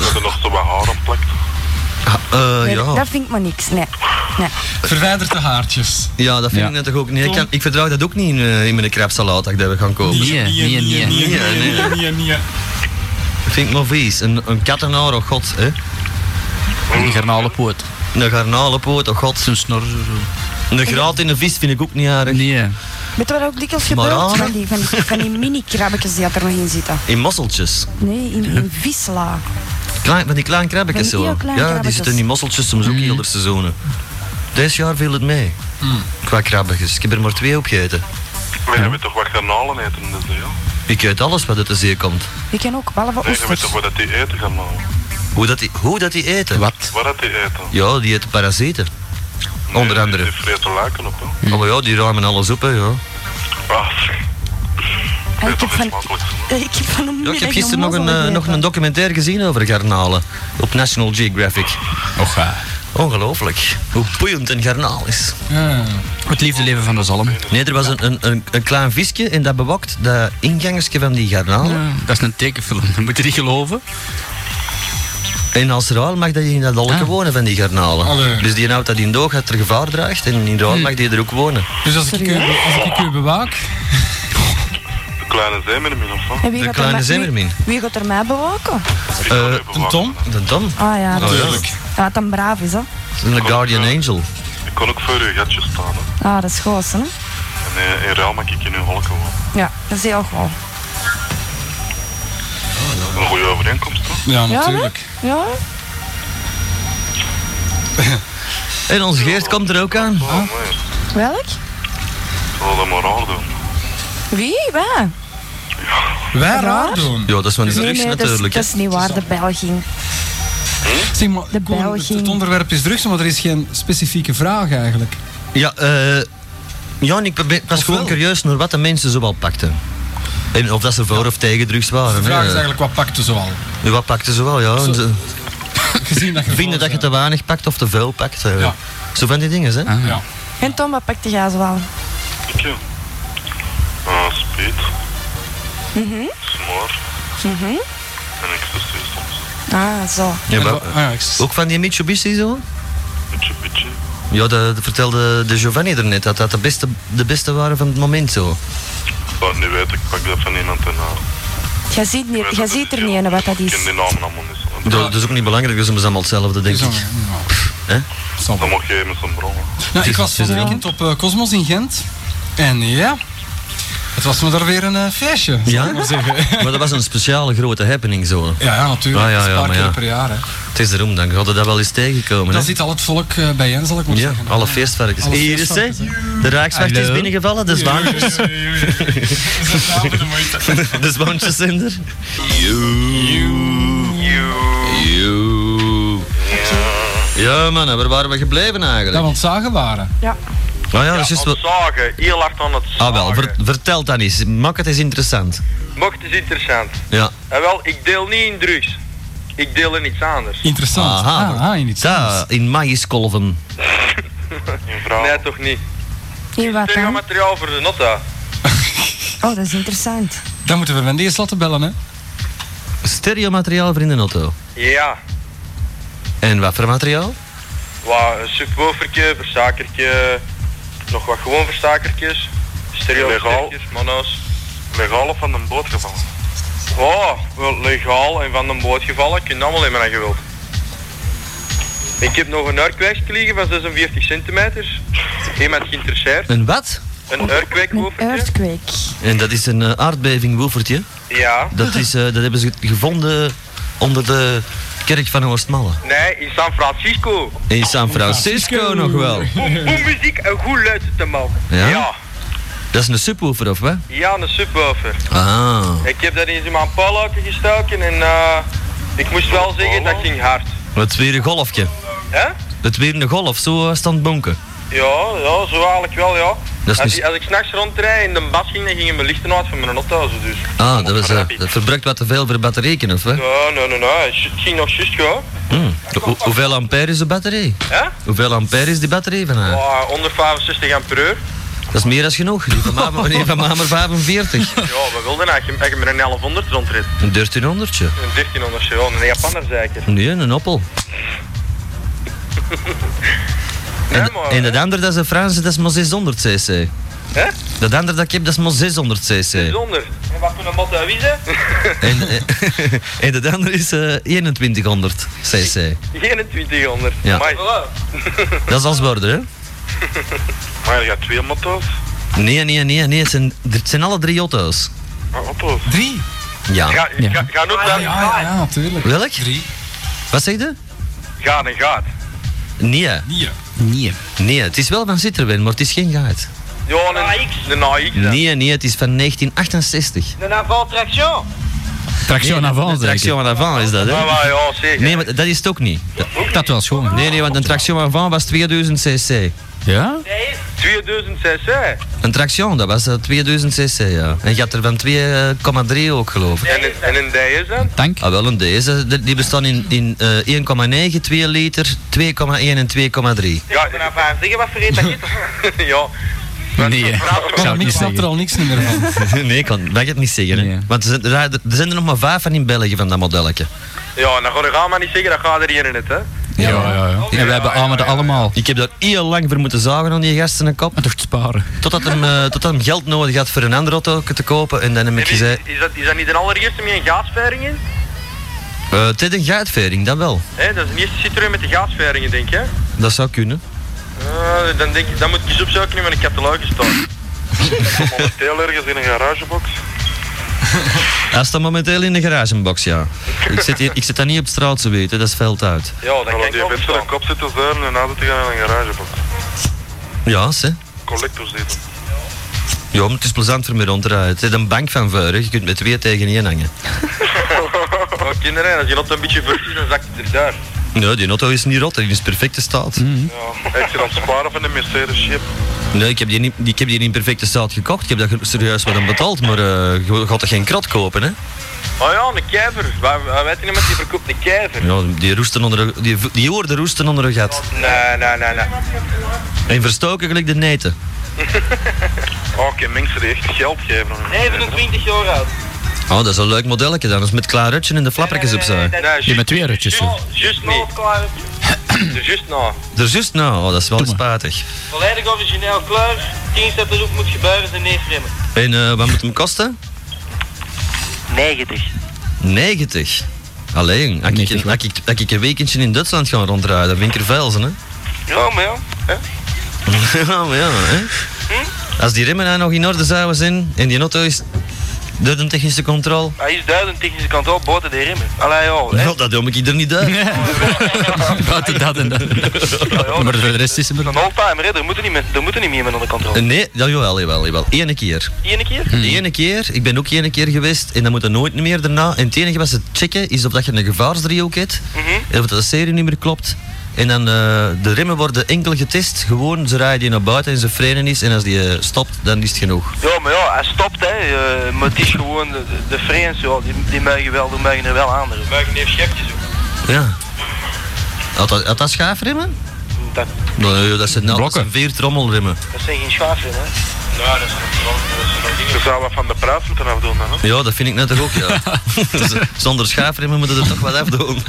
Dat er nog zo wat haar aan plakt.
Ah, eh,
Nee,
ja.
Dat vind ik maar niks, nee. nee.
Verwijder de haartjes.
ja, dat vind
Ja.
ik net toch ook niet. Ik, kan, ik verdraag dat ook niet in, eh, in mijn krabsalaat dat ik dat we gaan kopen.
Nee, nee, nee.
nee, nee, nee,
nee, nee.
Dat vind ik nog vies. Een, een kattenhaar, oh god. Hè.
Een garnalenpoot.
Een garnalenpoot, oh god.
Zo'n snor. zo.
Een graat in een vis vind ik ook niet aardig.
Nee.
Weet je wat ook dikwijls
Maar
gebeurt?
aan, hè?
Van die, van die, van die mini-krabbetjes die er nog in zitten.
In mosseltjes.
Nee, in, in visla.
Klein, van die kleine krabbetjes
Van die
zo.
heel kleine
ja, die
krabbetjes.
zitten in die mosseltjes soms
Mm.
ook heel de seizoenen. Dit jaar viel het mee. Qua krabbetjes. Ik heb er maar twee op gegeten.
Maar jij weet toch wat garnalen eten dus, in de zee? hè?
Ik eet alles wat uit de zee komt.
Je kan ook, behalve
Nee, jij weet toch
oesters.
wat dat die eten, garnalen?
Hoe dat die, hoe dat die eten?
Wat?
Wat dat die eten?
Ja, die eten parasieten. Onder
Nee,
andere.
Die vreten laken op, hè.
Mm.
Oh maar ja, die ruimen alles op, hè. Ja.
Ah, zeg.
Ah, ik, heb
Dat is
van,
makkelijk.
(laughs) ik heb van een
Ja, ik heb
middag
gisteren nog een, eh,
mazzel
nog een
gegeten.
documentaire gezien over garnalen. Op National Geographic.
Och, ja.
Ongelooflijk. Hoe boeiend een garnaal is.
Ja.
Het liefde leven van de zalm.
Nee, er was een, een, een, een klein visje en dat bewakt dat ingangersje van die garnalen.
Ja, dat is een tekenfilm. (laughs) Dat moet je niet geloven.
En als ruil mag dat je in dat dolken
Ah.
wonen van die garnalen.
Allee.
Dus die houdt dat in doog, dat er gevaar draagt. En in
Hm.
ruil mag die er ook wonen.
Dus als ik, u, als ik u bewaak,
De kleine zeemermin, of wat?
En wie
De
gaat er
kleine
mij-
zeemermin.
Wie, wie gaat er mij bewaken?
Ik ga
Eh,
even
een
wachten.
Tom.
De Tom,
Ah ja, dat
Natuurlijk.
ja, dat een braaf is, hè.
een guardian
Ja.
angel.
Ik kon ook voor uw gatje staan. Hè.
Ah, dat is goos, hè.
En eh, in ruil maak ik in uw holken wonen.
Ja, dat is heel goed.
Dat een goede overeenkomst, toch?
Ja,
Ja,
natuurlijk.
hè? Ja?
En onze Geert komt er ook aan.
Oh,
Ah.
nee.
Welk?
Zal dat maar raar doen.
Wie? Waar?
Wij
Raar?
raar doen.
Ja, dat is maar niet drugs
dat, is,
natuurlijk.
dat is niet waar, de Belging.
Zeg maar,
De
Koen, het,
Belging.
het onderwerp is drugs, maar er is geen specifieke vraag eigenlijk.
hè. Ja, eh ja, ik probeer- ik was
Of
gewoon
wel?
curieus naar wat de mensen zoal pakten. En of dat ze voor of tegen drugs
De
waren.
vraag
hè.
is eigenlijk, wat pakt u zoal?
Ja, Wat pakten ze wel, ja. En ze
Gezien dat je
vinden dat je te weinig pakt of te veel pakt. hè.
Ja.
Zo van die dingen, hè.
Ah,
Ja.
En Tom, wat pakte jij zoal?
Ik ja. Ah, speed.
Mhm.
Smoor. En ecstasy soms.
Ah, zo.
Ja,
En
maar-
wa- ah, ja, ik s-
ook van die Mitsubishi zo?
Beetje, beetje.
Ja, dat dat vertelde de Giovanni er net, dat dat de beste, de beste waren van het moment zo.
Ik zou het niet weten, ik pak dat van iemand en... Uh,
Jij ziet, niet, jij ziet er niet in wat dat
Ik ken
is.
die namen allemaal niet zo.
Dat, dat is ook niet belangrijk, dat ze allemaal hetzelfde, denk
zo,
ik.
ja.
Hè?
Zal wel.
Dan mag je met zo'n bron.
Nou, ik
is-
was
het is
van het
er
weekend op eh, Cosmos in Gent. En ja, het was me daar weer een eh, feestje, zal
Ja?
ik maar zeggen.
Maar dat was een speciale grote happening zo.
Ja, ja natuurlijk.
Ah, ja,
Dat is
ja,
een paar
maar
keer
ja.
per jaar. Hè.
Het is erom, dan hadden dat wel eens tegenkomen.
Dan
hè?
zit al het volk eh, bijeen, zal ik maar
Ja,
zeggen.
alle feestvarkens.
Alle
Hier is ze.
feestvarkens,
De Rijkswacht is
Hallo.
binnengevallen, de zwaantjes. (laughs) De zwaantjes zijn er. You. Ja, mannen, waar waren we gebleven
Dat
eigenlijk?
we ontzagen waren.
Nou ja, dat is juist wel-
zagen, heel hard aan het zagen.
Ah wel, ver- vertel dan eens. Maak het eens interessant.
Mocht is interessant.
Ja.
En wel, ik deel niet in drugs. Ik deel in iets anders.
Interessant.
Aha.
Ah, ah, in iets anders.
Da, in maïskolven.
Een vrouw.
Nee, toch niet.
In wat
Tegen
dan?
materiaal voor de notta.
Oh, dat is interessant.
Dan moeten we Wendy eens laten bellen, hè.
Stereomateriaal voor in de auto.
Ja.
En wat voor materiaal?
Wat, een subwoofertje, verzakertje, nog wat gewoon verzakertjes. Stereoversterkers, mono's.
Legaal of van een boot gevallen?
Oh, wel legaal en van de boot gevallen, kun je allemaal in mijn gewild. Ik heb nog een uurkwijk liggen van 46 centimeter. Iemand geïnteresseerd.
Een wat?
Een uurkwijk
Een earthquake.
En dat is een eh, aardbevingwoefertje.
Ja.
Dat, is, eh, dat hebben ze gevonden onder de kerk van Oostmalle.
Nee, in San Francisco.
In San Francisco nog wel.
Om, om muziek en goed luid te maken.
Ja?
Ja,
Dat is een subwoofer of wat?
ja, een subwoofer.
Ah.
Ik heb dat eens in mijn palouten gestoken en eh, ik moest wel zeggen dat ging hard.
Het is weer een golfje.
Hè?
Het is weer een golf, zo eh, stand bonken.
Ja, ja, zo eigenlijk wel, ja.
Dat is
Als,
niet-
ik- als ik s'nachts rondrijd en de bas ging, dan gingen mijn lichten uit van mijn auto. Zo dus.
Ah, dat, was, eh, dat verbruikt wat te veel voor batterijken of wat?
Nee, nee, nee, nee. Het ging nog juist gewoon.
Hmm. Hoe- hoeveel ampère is de batterij?
Hè?
Hoeveel ampère is die batterij van haar?
Oh, 165 ampère.
Dat is meer dan genoeg. Die van
(laughs)
mij, die van mij maar 45.
Ja, we wilden eigenlijk als je met een 1100 rondrit.
Een 1300.
Een 1300, ja, een Japaner zeker.
Nee, een appel.
Nee,
En,
maar,
en dat andere, dat is een Franse, dat is maar 600 cc.
Hè?
Dat andere dat ik heb, dat is maar 600 cc.
Zonder. En wat voor een motte wie
(laughs)
ze?
En, eh, (laughs) en dat andere is eh, 2100 cc.
2100.
Ja.
Amai.
Dat is als worden, hè?
Maar je gaat twee motto's?
Nee, nee, nee, nee. Het zijn, het zijn alle drie auto's.
Ah, motto's.
Drie.
Ja.
Ga, ga, ga ook
Ja,
dan.
ja, ja, natuurlijk.
Welk?
Drie.
Wat zeg je?
Ga en gaat.
Nee,
Nee.
Nee.
nee. Het is wel van Citroën, maar het is geen gaat.
Ja, een AX. Een AX. dan.
Nee, nee. Het is van 1968.
Een avant traction.
Traction
Nee,
avant,
Een
zeker.
traction avant is dat, hè?
Ja, maar ja, oh, zeker.
Nee, maar dat is het ook niet. Ah. Dat-
Ik dat wel schoon.
Nee, nee, want een traction avant was 2000 cc.
Ja?
2000 cc.
Een traction, dat was eh, 2000 cc, ja. En je had er van 2,3 ook, geloof ik.
En, een- en een DS dan?
Tank.
Ah, wel, een deze, de- die bestaan in, in eh 1,9, 2 liter, 2,1 en 2,3.
Ja, ik ben aan het zeggen, wat vergeet dat niet? (laughs) ja.
Nee. Ik zou het
Ik
niet
snap er
zeggen.
al niks meer
(laughs)
van.
nee, ik kan, mag ik het niet zeggen, hè.
Nee.
Want er zijn, er zijn- er zijn er nog maar vijf van in België, van dat modelletje.
Ja, dan ga je maar niet zeggen, dat gaat er hier in het, hè.
Ja, ja, ja. En we hebben armen er allemaal.
Ik heb daar heel lang voor moeten zagen aan die gasten een kop.
Maar toch te sparen.
Totdat hem, eh, totdat hem geld nodig had voor een andere auto te kopen. En dan heb ik
Is,
gezegd,
is, dat, is dat niet de allereerste met een gaasveiling in?
eh het is een gaatvering, dat wel.
Hé, dat is de eerste Citroën met de gaasveiringen, denk je?
Dat zou kunnen.
Eh, dan, denk ik, dan moet ik eens opzoeken in mijn (laughs) catalogus staan.
Momenteel ergens in een garagebox.
Hij staat momenteel in de garagebox, ja. Ik zit, hier, ik zit daar niet op straat, ze weten, dat is veld uit.
Ja, dan kan die mensen een kop zitten zuilen en na zitten gaan in een garagebox.
Ja, ze.
Collectors zitten.
Ja, maar het is plezant voor mij rond te rijden. Het is een bank van vuur, hè. je kunt met twee tegen één hangen.
Maar kinderen, als je dat een beetje verliest, dan zakt het er daar.
Nee, die auto is niet rot, die is in perfecte staat.
Ja. Ik zit aan het sparen van een Mercedes chip.
Nee, ik heb, die niet, die- ik heb die niet in perfecte staat gekocht. Ik heb daar serieus wat aan betaald, maar eh, je gaat er geen krat kopen, hè?
Oh ja, een kijver. Waar- waar Weet je iemand die verkoopt een kijver?
Ja, die, roesten onder de, die, die hoorden roesten onder een gat.
Nee, nee, nee, nee.
En verstoken gelijk de neten.
Oké, mensen die echt geld geven. aan een Mercedes.
27 jaar oud.
Oh, dat is een leuk modelletje dan. Dat is met klaar rutje en de flappertjes opzij.
Nee,
Je met twee rutjes. hè.
juist niet. Dus (clears throat) juist na.
Er juist nou, oh, dat is wel spatig.
Volledig origineel klaar. 10 dat erop moet gebeuren, zijn neerremmen.
En eh, wat moet hem kosten?
90.
90. Alleen, als ik, als, ik, als ik een weekendje in Duitsland ga rondrijden, dan vind ik er velzen, hè? (laughs)
Ja, maar ja. hè?
ja, maar ja, hè? Als die remmen nou nog in orde zouden zijn en die auto is door de technische controle,
Hij is duidelijk technische kant op, boten de remmen. Allee, joh. hè?
nou, dat doe ik er niet
(laughs)
uit.
Buiten dat en dat. Maar voor de rest is het er
Een oldtimer, hè? Daar moeten niet, meer- daar moeten niet meer met onder controle.
Nee, ja, jawel, jawel, jawel. Eén keer.
Eén keer?
De ene keer, ik ben ook één keer geweest en dan moet er nooit meer daarna. En het enige wat ze checken is of dat je een gevaarsdriehoek hebt, en of dat het serienummer klopt. En dan, eh, de remmen worden enkel getest, gewoon ze rijden die naar buiten en ze frenen is en als die eh, stopt, dan is het genoeg.
Ja, maar ja, hij stopt, hè. eh, maar het is gewoon de, de Friends, ja. Die, die mogen wel, die mogen er wel aan. dus. Die mogen even schepjes doen.
Ja. Had dat, had dat schaafremmen?
Dat,
Nee, dat zijn, nou, dat zijn vier trommelremmen.
dat zijn geen schaafren, hè. Ja, dat is
Ze zouden wat van de prijs moeten afdoen dan. hè?
Ja, dat vind ik net toch ook, ja. (laughs) Z- Zonder schaafremmen moeten we er toch wat afdoen.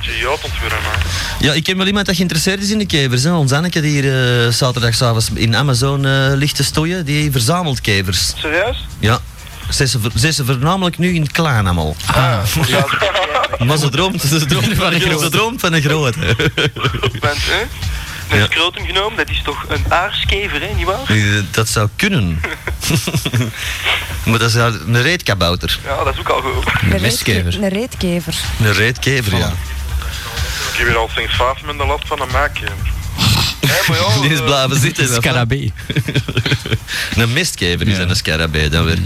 Je jood ontwurren, man.
Ja, ik ken wel iemand dat geïnteresseerd is in de kevers. Hè. Ons Anneke die hier eh, zaterdagavond in Amazon eh, ligt te stoeien, die verzamelt kevers.
Serieus?
Ja. Ze ze- ze is voornamelijk nu in het klaan allemaal.
Ja,
Maar ze droomt, ze droomt van een grote. Ze droomt van een grote.
dat bent, hè. Met
Ja.
scrotum genomen, dat is toch een aarskever, hè, nietwaar?
Eh, Dat zou kunnen. (laughs) maar dat is haar- een reetkabouter.
Ja, dat is ook al goed.
Een
mestkever.
reetke- Een reetkever.
Een reetkever, ja.
Ik heb hier al sinds vijf minuten last van een maakkever.
Hè, maar ja,
Die is
eh,
blijven zitten. of wat?
Scarabee.
(laughs) Een mistkever is
Ja.
en een scarabee dan weer.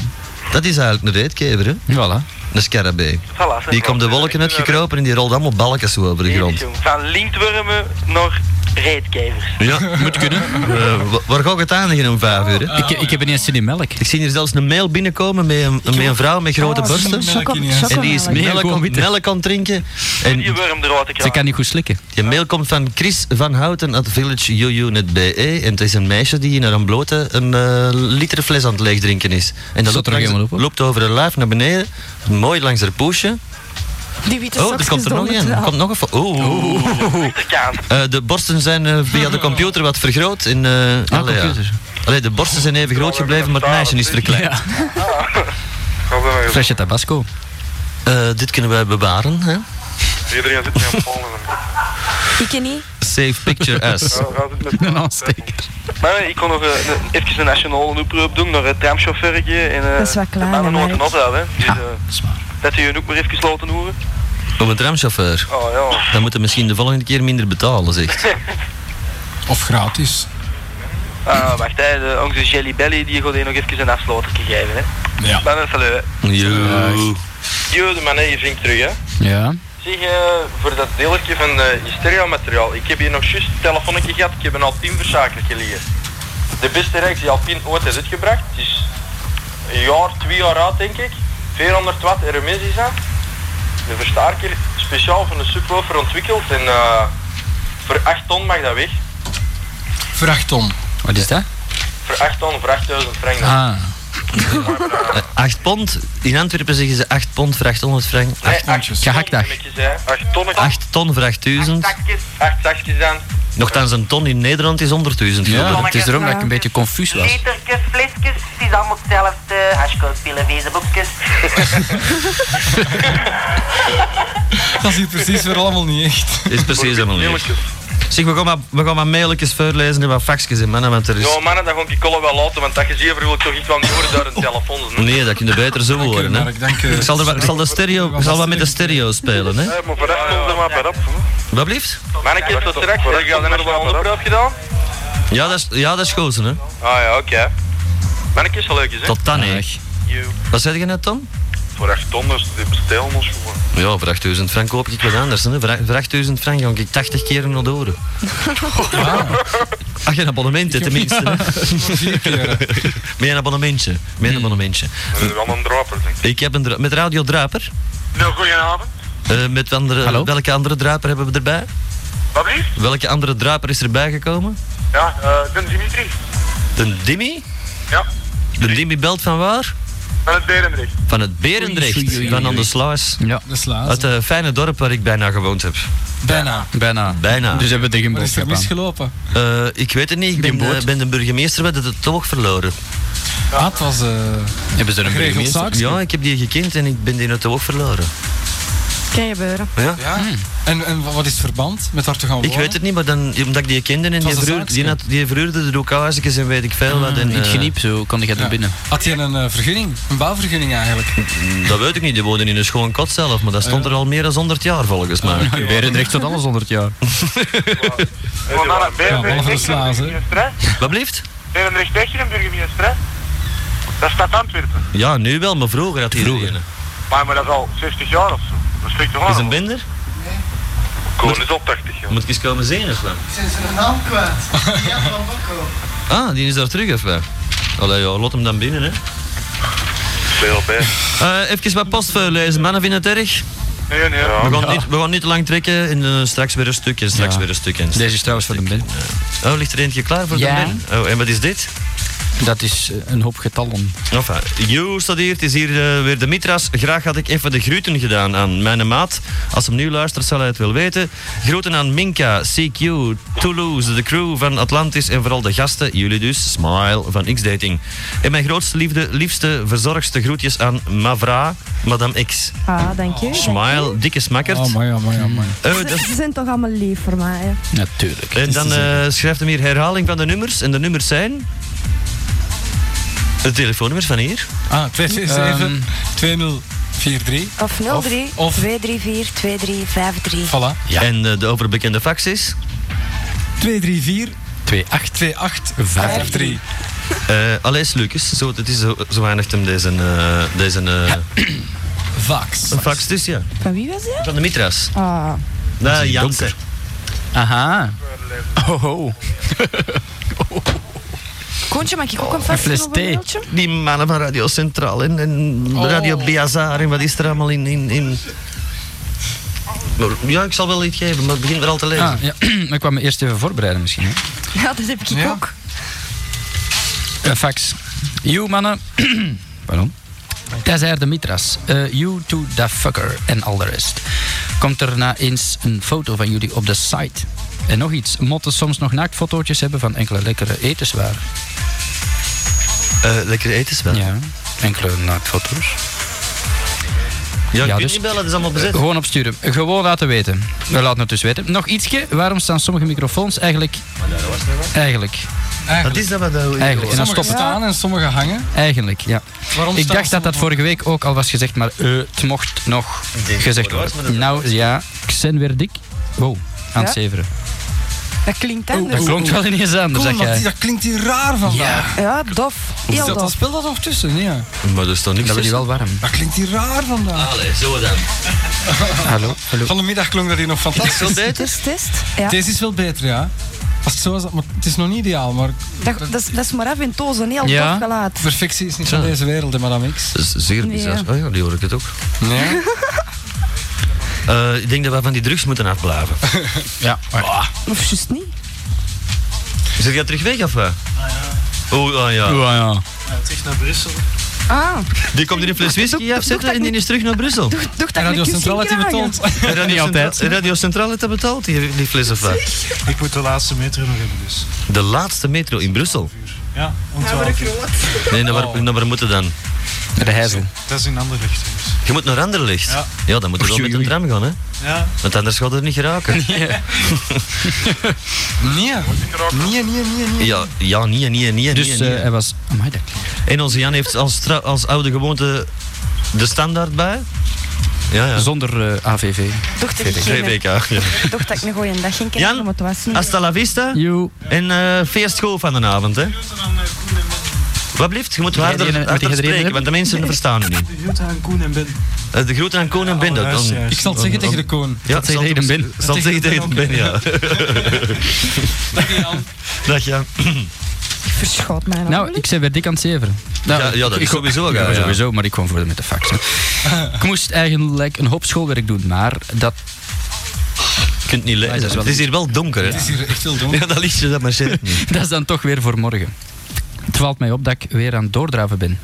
Dat is eigenlijk een reetkever, hè?
Voilà.
Een scarabee.
voilà, hè.
Die komt de wolken uitgekropen en die rolt allemaal balken zo over de grond.
Van lintwormen naar reetkevers.
Ja, moet kunnen. Eh, wa- waar ga ik het aanleggen om vijf uur? hè?
Ik, ik heb ineens zin in melk.
Ik zie hier zelfs een mail binnenkomen met een, met een vrouw met grote
Oh,
Ah,
borsten.
zo'n
Choco-
Melk in, ja.
En die is
Oh, chocomelk.
melk,
gewoon
aan-
witte.
melk aan het drinken. En
Die worm eruit te
Ze
krijgen.
kan niet goed slikken.
die mail komt van Chris van Houten at villagejuju.be. En het is een meisje die naar een blote een eh, liter fles aan het leegdrinken is. En dat loopt,
Zat er nog
langs-
helemaal op, hoor.
loopt over haar lijf naar beneden. Mooi langs haar poesje.
Die witte
Oh, er komt er nog een. Er komt nog een. fo- Oh.
kan.
Eh, de borsten zijn eh, via de computer wat vergroot. In, eh allee, ja.
Ah, computer.
Allee, de borsten zijn even groot gebleven, maar het meisje is verkleind.
Ga ze maar eens-
Flesje tabasco.
Eh, dit kunnen wij bewaren. Hè?
Iedereen zit met een pol
(laughs)
in hem.
Ik ken niet.
Save picture as.
Ja, Ga zitten met
Een aansteker.
Maar ik kon nog eh, een- even een nationale oproep doen naar het tramchauffeurtje en eh
Dat is wat klein,
de mannen
hè,
nooit een
meid.
ophouden. hè. Dus, eh,
is waar.
dat die hun ook maar even laten horen.
Om een tramchauffeur.
Oh ja.
Dan moeten we misschien de volgende keer minder betalen, zegt.
Of gratis.
Ah, wacht, hè, de, onze Jelly Belly die gaat hier nog even een afslotertje geven. Hè.
Ja.
Maar dat is wel, hè.
Yo.
Yo, de man, hè, je vindt terug, hè.
Ja.
Zeg, eh, voor dat deeltje van eh, je stereomateriaal. Ik heb hier nog juist een telefoonnetje gehad. Ik heb een Alpine verzakeltje liggen. De beste reeks die Alpine ooit heeft uitgebracht. Het is een jaar, twee jaar oud denk ik. 400 watt RMS is dat. De versterker speciaal voor de subwoofer ontwikkeld. En eh, voor 8 ton mag dat weg.
Vrachtton.
Wat is dat?
Voor 8 ton, voor 8000 frank.
Ah.
8 Eh, pond. In Antwerpen zeggen ze 8 pond voor 800 frank.
Nee, acht
tonnetjes.
ton,
Gehaktdag.
moet ik zeggen. Acht tonnen.
8 ton voor 8000.
zakjes. Acht zakjes dan.
Nochtans, een ton in Nederland is 100.000. gulden.
Ja, het is erom dat ik een beetje confuus was.
Literkes, flesjes, het is
precies allemaal hetzelfde. Hashcodepielen, wezenboekjes.
Dat is hier precies weer allemaal niet echt.
Is precies helemaal niet. Zeg, we gaan maar, we gaan maar mailtjes voorlezen en wat faxjes in, mannen, want er is...
Dus-
Ja, mannen, dan ga ik die kollen wel laten, want dat gezever wil ik toch iets van niet horen door een telefoon.
Nee, dat kun je beter zo horen, hè. Ik zal, er, wel- ik zal, de stereo, ik zal wat met de stereo spelen, hè.
maar vooruit stond er maar bij op.
Wat blieft?
Manneke, tot straks. Heb je al een onderproef gedaan?
Ja, dat is, ja, dat is gozen, hè.
Ah ja, oké. Manneke is wel leuk, hè?
Tot dan, hè. Wat zei je net, Tom?
Voor 8 ton, dus die bestellen ons gewoon.
Ja, voor 8000 frank koop ik wat anders, hè. Voor, voor 8000 frank ga ik 80 keer naar de oren. Ah. Ach, een abonnement, hè, tenminste. hè. Met een abonnementje. Met een abonnementje.
We hebben wel een draper, denk ik.
Ik heb een... dra- Met Radio Draper?
Nou, goedenavond.
Eh, met andere, welke andere druiper hebben we erbij?
Wat lief?
Welke andere druiper is erbij gekomen?
Ja, eh, ik ben Dimitri.
De Dimmy?
Ja.
De Dimmy belt van waar?
Van het Berendrecht.
Van het Berendrecht,
Oei, oei, oei,
van aan de
oei.
Sluis.
Ja. De slaas.
Uit het fijne dorp waar ik bijna gewoond heb.
Bijna.
Bijna. Bijna.
Dus hebben we de
Wat
gimbal
is er
gedaan.
misgelopen?
Eh, ik weet het niet, ik ben, eh, ben de burgemeester bij de toog verloren.
Ah, het was... eh,
Hebben ze er een
Geregeld
burgemeester?
zaakje.
Ja, ik heb die gekend en ik ben die uit de oog verloren.
Kan gebeuren.
Ja.
Ja. Hmm. En, en wat is het verband met haar te gaan wonen?
Ik weet het niet, maar dan, omdat ik die kende en
was
die,
een
verhuur, die,
zaakje.
had, die verhuurde de locaties en weet ik veel wat. En,
In het
eh,
geniep, zo kan die gaat er
Ja.
binnen.
Had hij een eh, vergunning? Een bouwvergunning eigenlijk?
dat weet ik niet, die woonde in een schoon kot zelf, maar dat stond er al meer dan 100 jaar volgens mij.
Nou, Berendrecht tot alles 100 jaar.
Voor mannen,
Ja, wel van de
Berendrecht echt een
slaas, hè.
burgemeester, hè?
Wat blieft?
Berendrecht echt een burgemeester, hè? Dat staat Antwerpen.
Ja, nu wel, maar vroeger had hij eh, vroeger.
Maar, maar dat is al 60 jaar of zo. Dat spreekt toch
Is
aan?
een binder?
Koon is al 80 jaar.
Moet ik eens komen zien of wat?
Zijn ze een naam kwijt?
(laughs)
Ja, van Bokko.
Ah, die is daar terug of wat? Allee, ja, laat hem dan binnen, hè.
Veel bij.
Eh, even wat post voorlezen, mannen, vind je het erg?
Nee, nee.
We gaan, niet, we gaan niet te lang trekken en eh, straks weer een stuk en straks
Ja.
weer een stuk. En
Deze is trouwens voor de bin.
Oh, ligt er eentje klaar voor
Ja.
de men? Oh, en wat is dit?
Dat is eh, een hoop getallen.
Enfin, Jo staat hier, het is hier eh, weer de Mitras. Graag had ik even de groeten gedaan aan mijn maat. Als hem nu luistert, zal hij het wel weten. Groeten aan Minka, CQ, Toulouse, de crew van Atlantis en vooral de gasten, jullie dus, Smile van X-Dating. En mijn grootste liefde, liefste, verzorgste groetjes aan Mavra, Madame X.
Ah, dank je.
Smile, dikke smakkerd.
Oh, mooi, oh, mooi, oh, mooi.
Eh, dat-
Ze zijn toch allemaal lief voor mij. hè.
Natuurlijk.
En dan eh, schrijft hem hier herhaling van de nummers. En de nummers zijn... De telefoonnummers van hier.
Ah, 267
Ehm.
2043.
Of 03
Of-
234 2353.
Voilà.
En eh, de overbekende fax is...
234
2-8.
2853.
eh Alès Lucas. Zo, het is zo, zo eindigt hem deze, eh, deze eh,
Vax.
fax dus, ja.
Van wie was dat?
Van de Mitras.
Ah,
Nee, Jansen.
Aha. Oh, oh.
Koontje, maak ik ook een
Een fles
vast
thee.
voorbeeldje?
Die mannen van Radio Centraal en, en Radio Biazar en wat is er allemaal in... in, in... Maar, ja, ik zal wel iets geven, maar het begint weer al te lezen.
Ah, ja. (clears throat) Ik kwam me eerst even voorbereiden misschien. Hè.
Ja, dat heb ik
Ja.
ook.
Een Eh, fax. You mannen. (clears throat) Pardon. Tazar de Mitras. Eh, you to the fucker. En al de rest. Komt er na eens een foto van jullie op de site. En nog iets. Motten soms nog naaktfotootjes hebben van enkele lekkere etenswaren.
Eh, lekker etenswel. Ja,
Ja. Enkele naaktfoto's.
ja, ik
Ja,
weet
dus-
niet bellen, het is allemaal bezet.
Gewoon opsturen. Gewoon laten weten. We laten het dus weten. Nog ietsje. Waarom staan sommige microfoons eigenlijk... Eigenlijk.
Wat is dat wat eh, dat-
Eigenlijk. En
Sommige
dan stopt het.
staan en sommige hangen.
Eigenlijk, ja.
Waarom
Ik
staan
dacht dat dat
sommige-
vorige week ook al was gezegd, maar eh, het mocht nog
denk
gezegd
het wel, maar
worden. Nou ja, ik ben weer dik. Wow, aan het
Ja?
zeveren.
Dat klinkt anders.
Dat klonk wel ineens anders,
Kom,
zeg
dat,
jij.
dat klinkt hier raar vandaag.
Ja, dof.
Is
Heel
dat, dat
dof.
speelt dat nog tussen, ja.
Maar er staat niks
Dat we
tussen.
die wel warm.
Dat klinkt hier raar vandaag.
Allee, zo dan.
Hallo, hallo.
Van de middag klonk dat hier nog
Zo
fantastisch.
deed het.
Test, test. Ja.
Deze is wel beter, ja. Als het zo is, dat- maar het is nog niet ideaal, maar
Dat, dat, is, dat is maar af en toe zo'n heel
Ja.
dof gelaat.
perfectie is niet van deze wereld, hè, madame X.
Dat is zeer
Nee,
bizar.
ja.
Oh ja, die hoor ik het ook.
Nee?
Eh, ik denk dat wij van die drugs moeten afblijven.
Ja, wacht.
Of juist niet.
Zit jij terug weg of wat? Oh, ah ja.
Ja, ja.
Terug naar Brussel.
Ah,
Die komt in een fles whisky afzetten
dat
en die is terug naar Brussel.
doe, doe dat
Radio
met kus
Centraal had die
kragen.
betoond.
En
(laughs)
Radio
Niet
Centra-
altijd.
Radio Centraal heeft dat betaald, die, die fles of wat?
Ik moet de laatste meter nog hebben dus.
De laatste metro in Brussel.
Ja,
Nou,
ontworpen.
Nee, naar waar, naar waar moeten dan? Naar de Heizel.
Dat is in ander licht.
Je moet naar Anderlecht.
Ja.
dan moet je wel met een tram gaan, hè?
Ja.
Want anders gaat het niet geraken.
Nee. Nee, nee, nee, nee.
Ja, ja, nee, nee, nee.
Dus,
nee, nee.
eh, hij was... Amai, dat klinkt-
En onze Jan heeft als, tra- als oude gewoonte de standaard bij. Ja, ja.
Zonder eh, AVV.
Dochter die geen-
VVK. Ja.
Ik dacht dat ik een goeie dag ging krijgen,
Jan?
maar het was niet.
Hasta la vista. En eh veel school van de avond, hè? Wat blieft? Je moet
Moet jij die-
harder,
moet
harder
jij die
spreken,
hebben?
want de mensen verstaan het niet.
De groeten aan Koen en Ben.
Eh, De groeten aan Koen en Ben. dat- dan-
Ik zal het zeggen tegen de koon.
Ja, zal het
Ben.
zal het zeggen tegen de Ben, ja. (laughs) Dag Jan.
Ik verschoot mij nog.
Nou, ik zei weer dik aan het zeveren. Nou,
Ja, ja, dat
ik-
is
ik-
sowieso,
ja,
ja, ja.
sowieso, maar ik kwam voor met de fax. hè.
(laughs)
ik moest eigenlijk een hoop schoolwerk doen, maar dat... (laughs)
Je kunt niet
Maar Ah, dat is
lezen.
wel
Het is hier wel donker, hè?
Het is hier echt heel donker.
Ja, dat liedje, dat maar
(laughs)
zit niet.
dat is dan toch weer voor morgen. Het valt mij op dat ik weer aan het doordraven ben.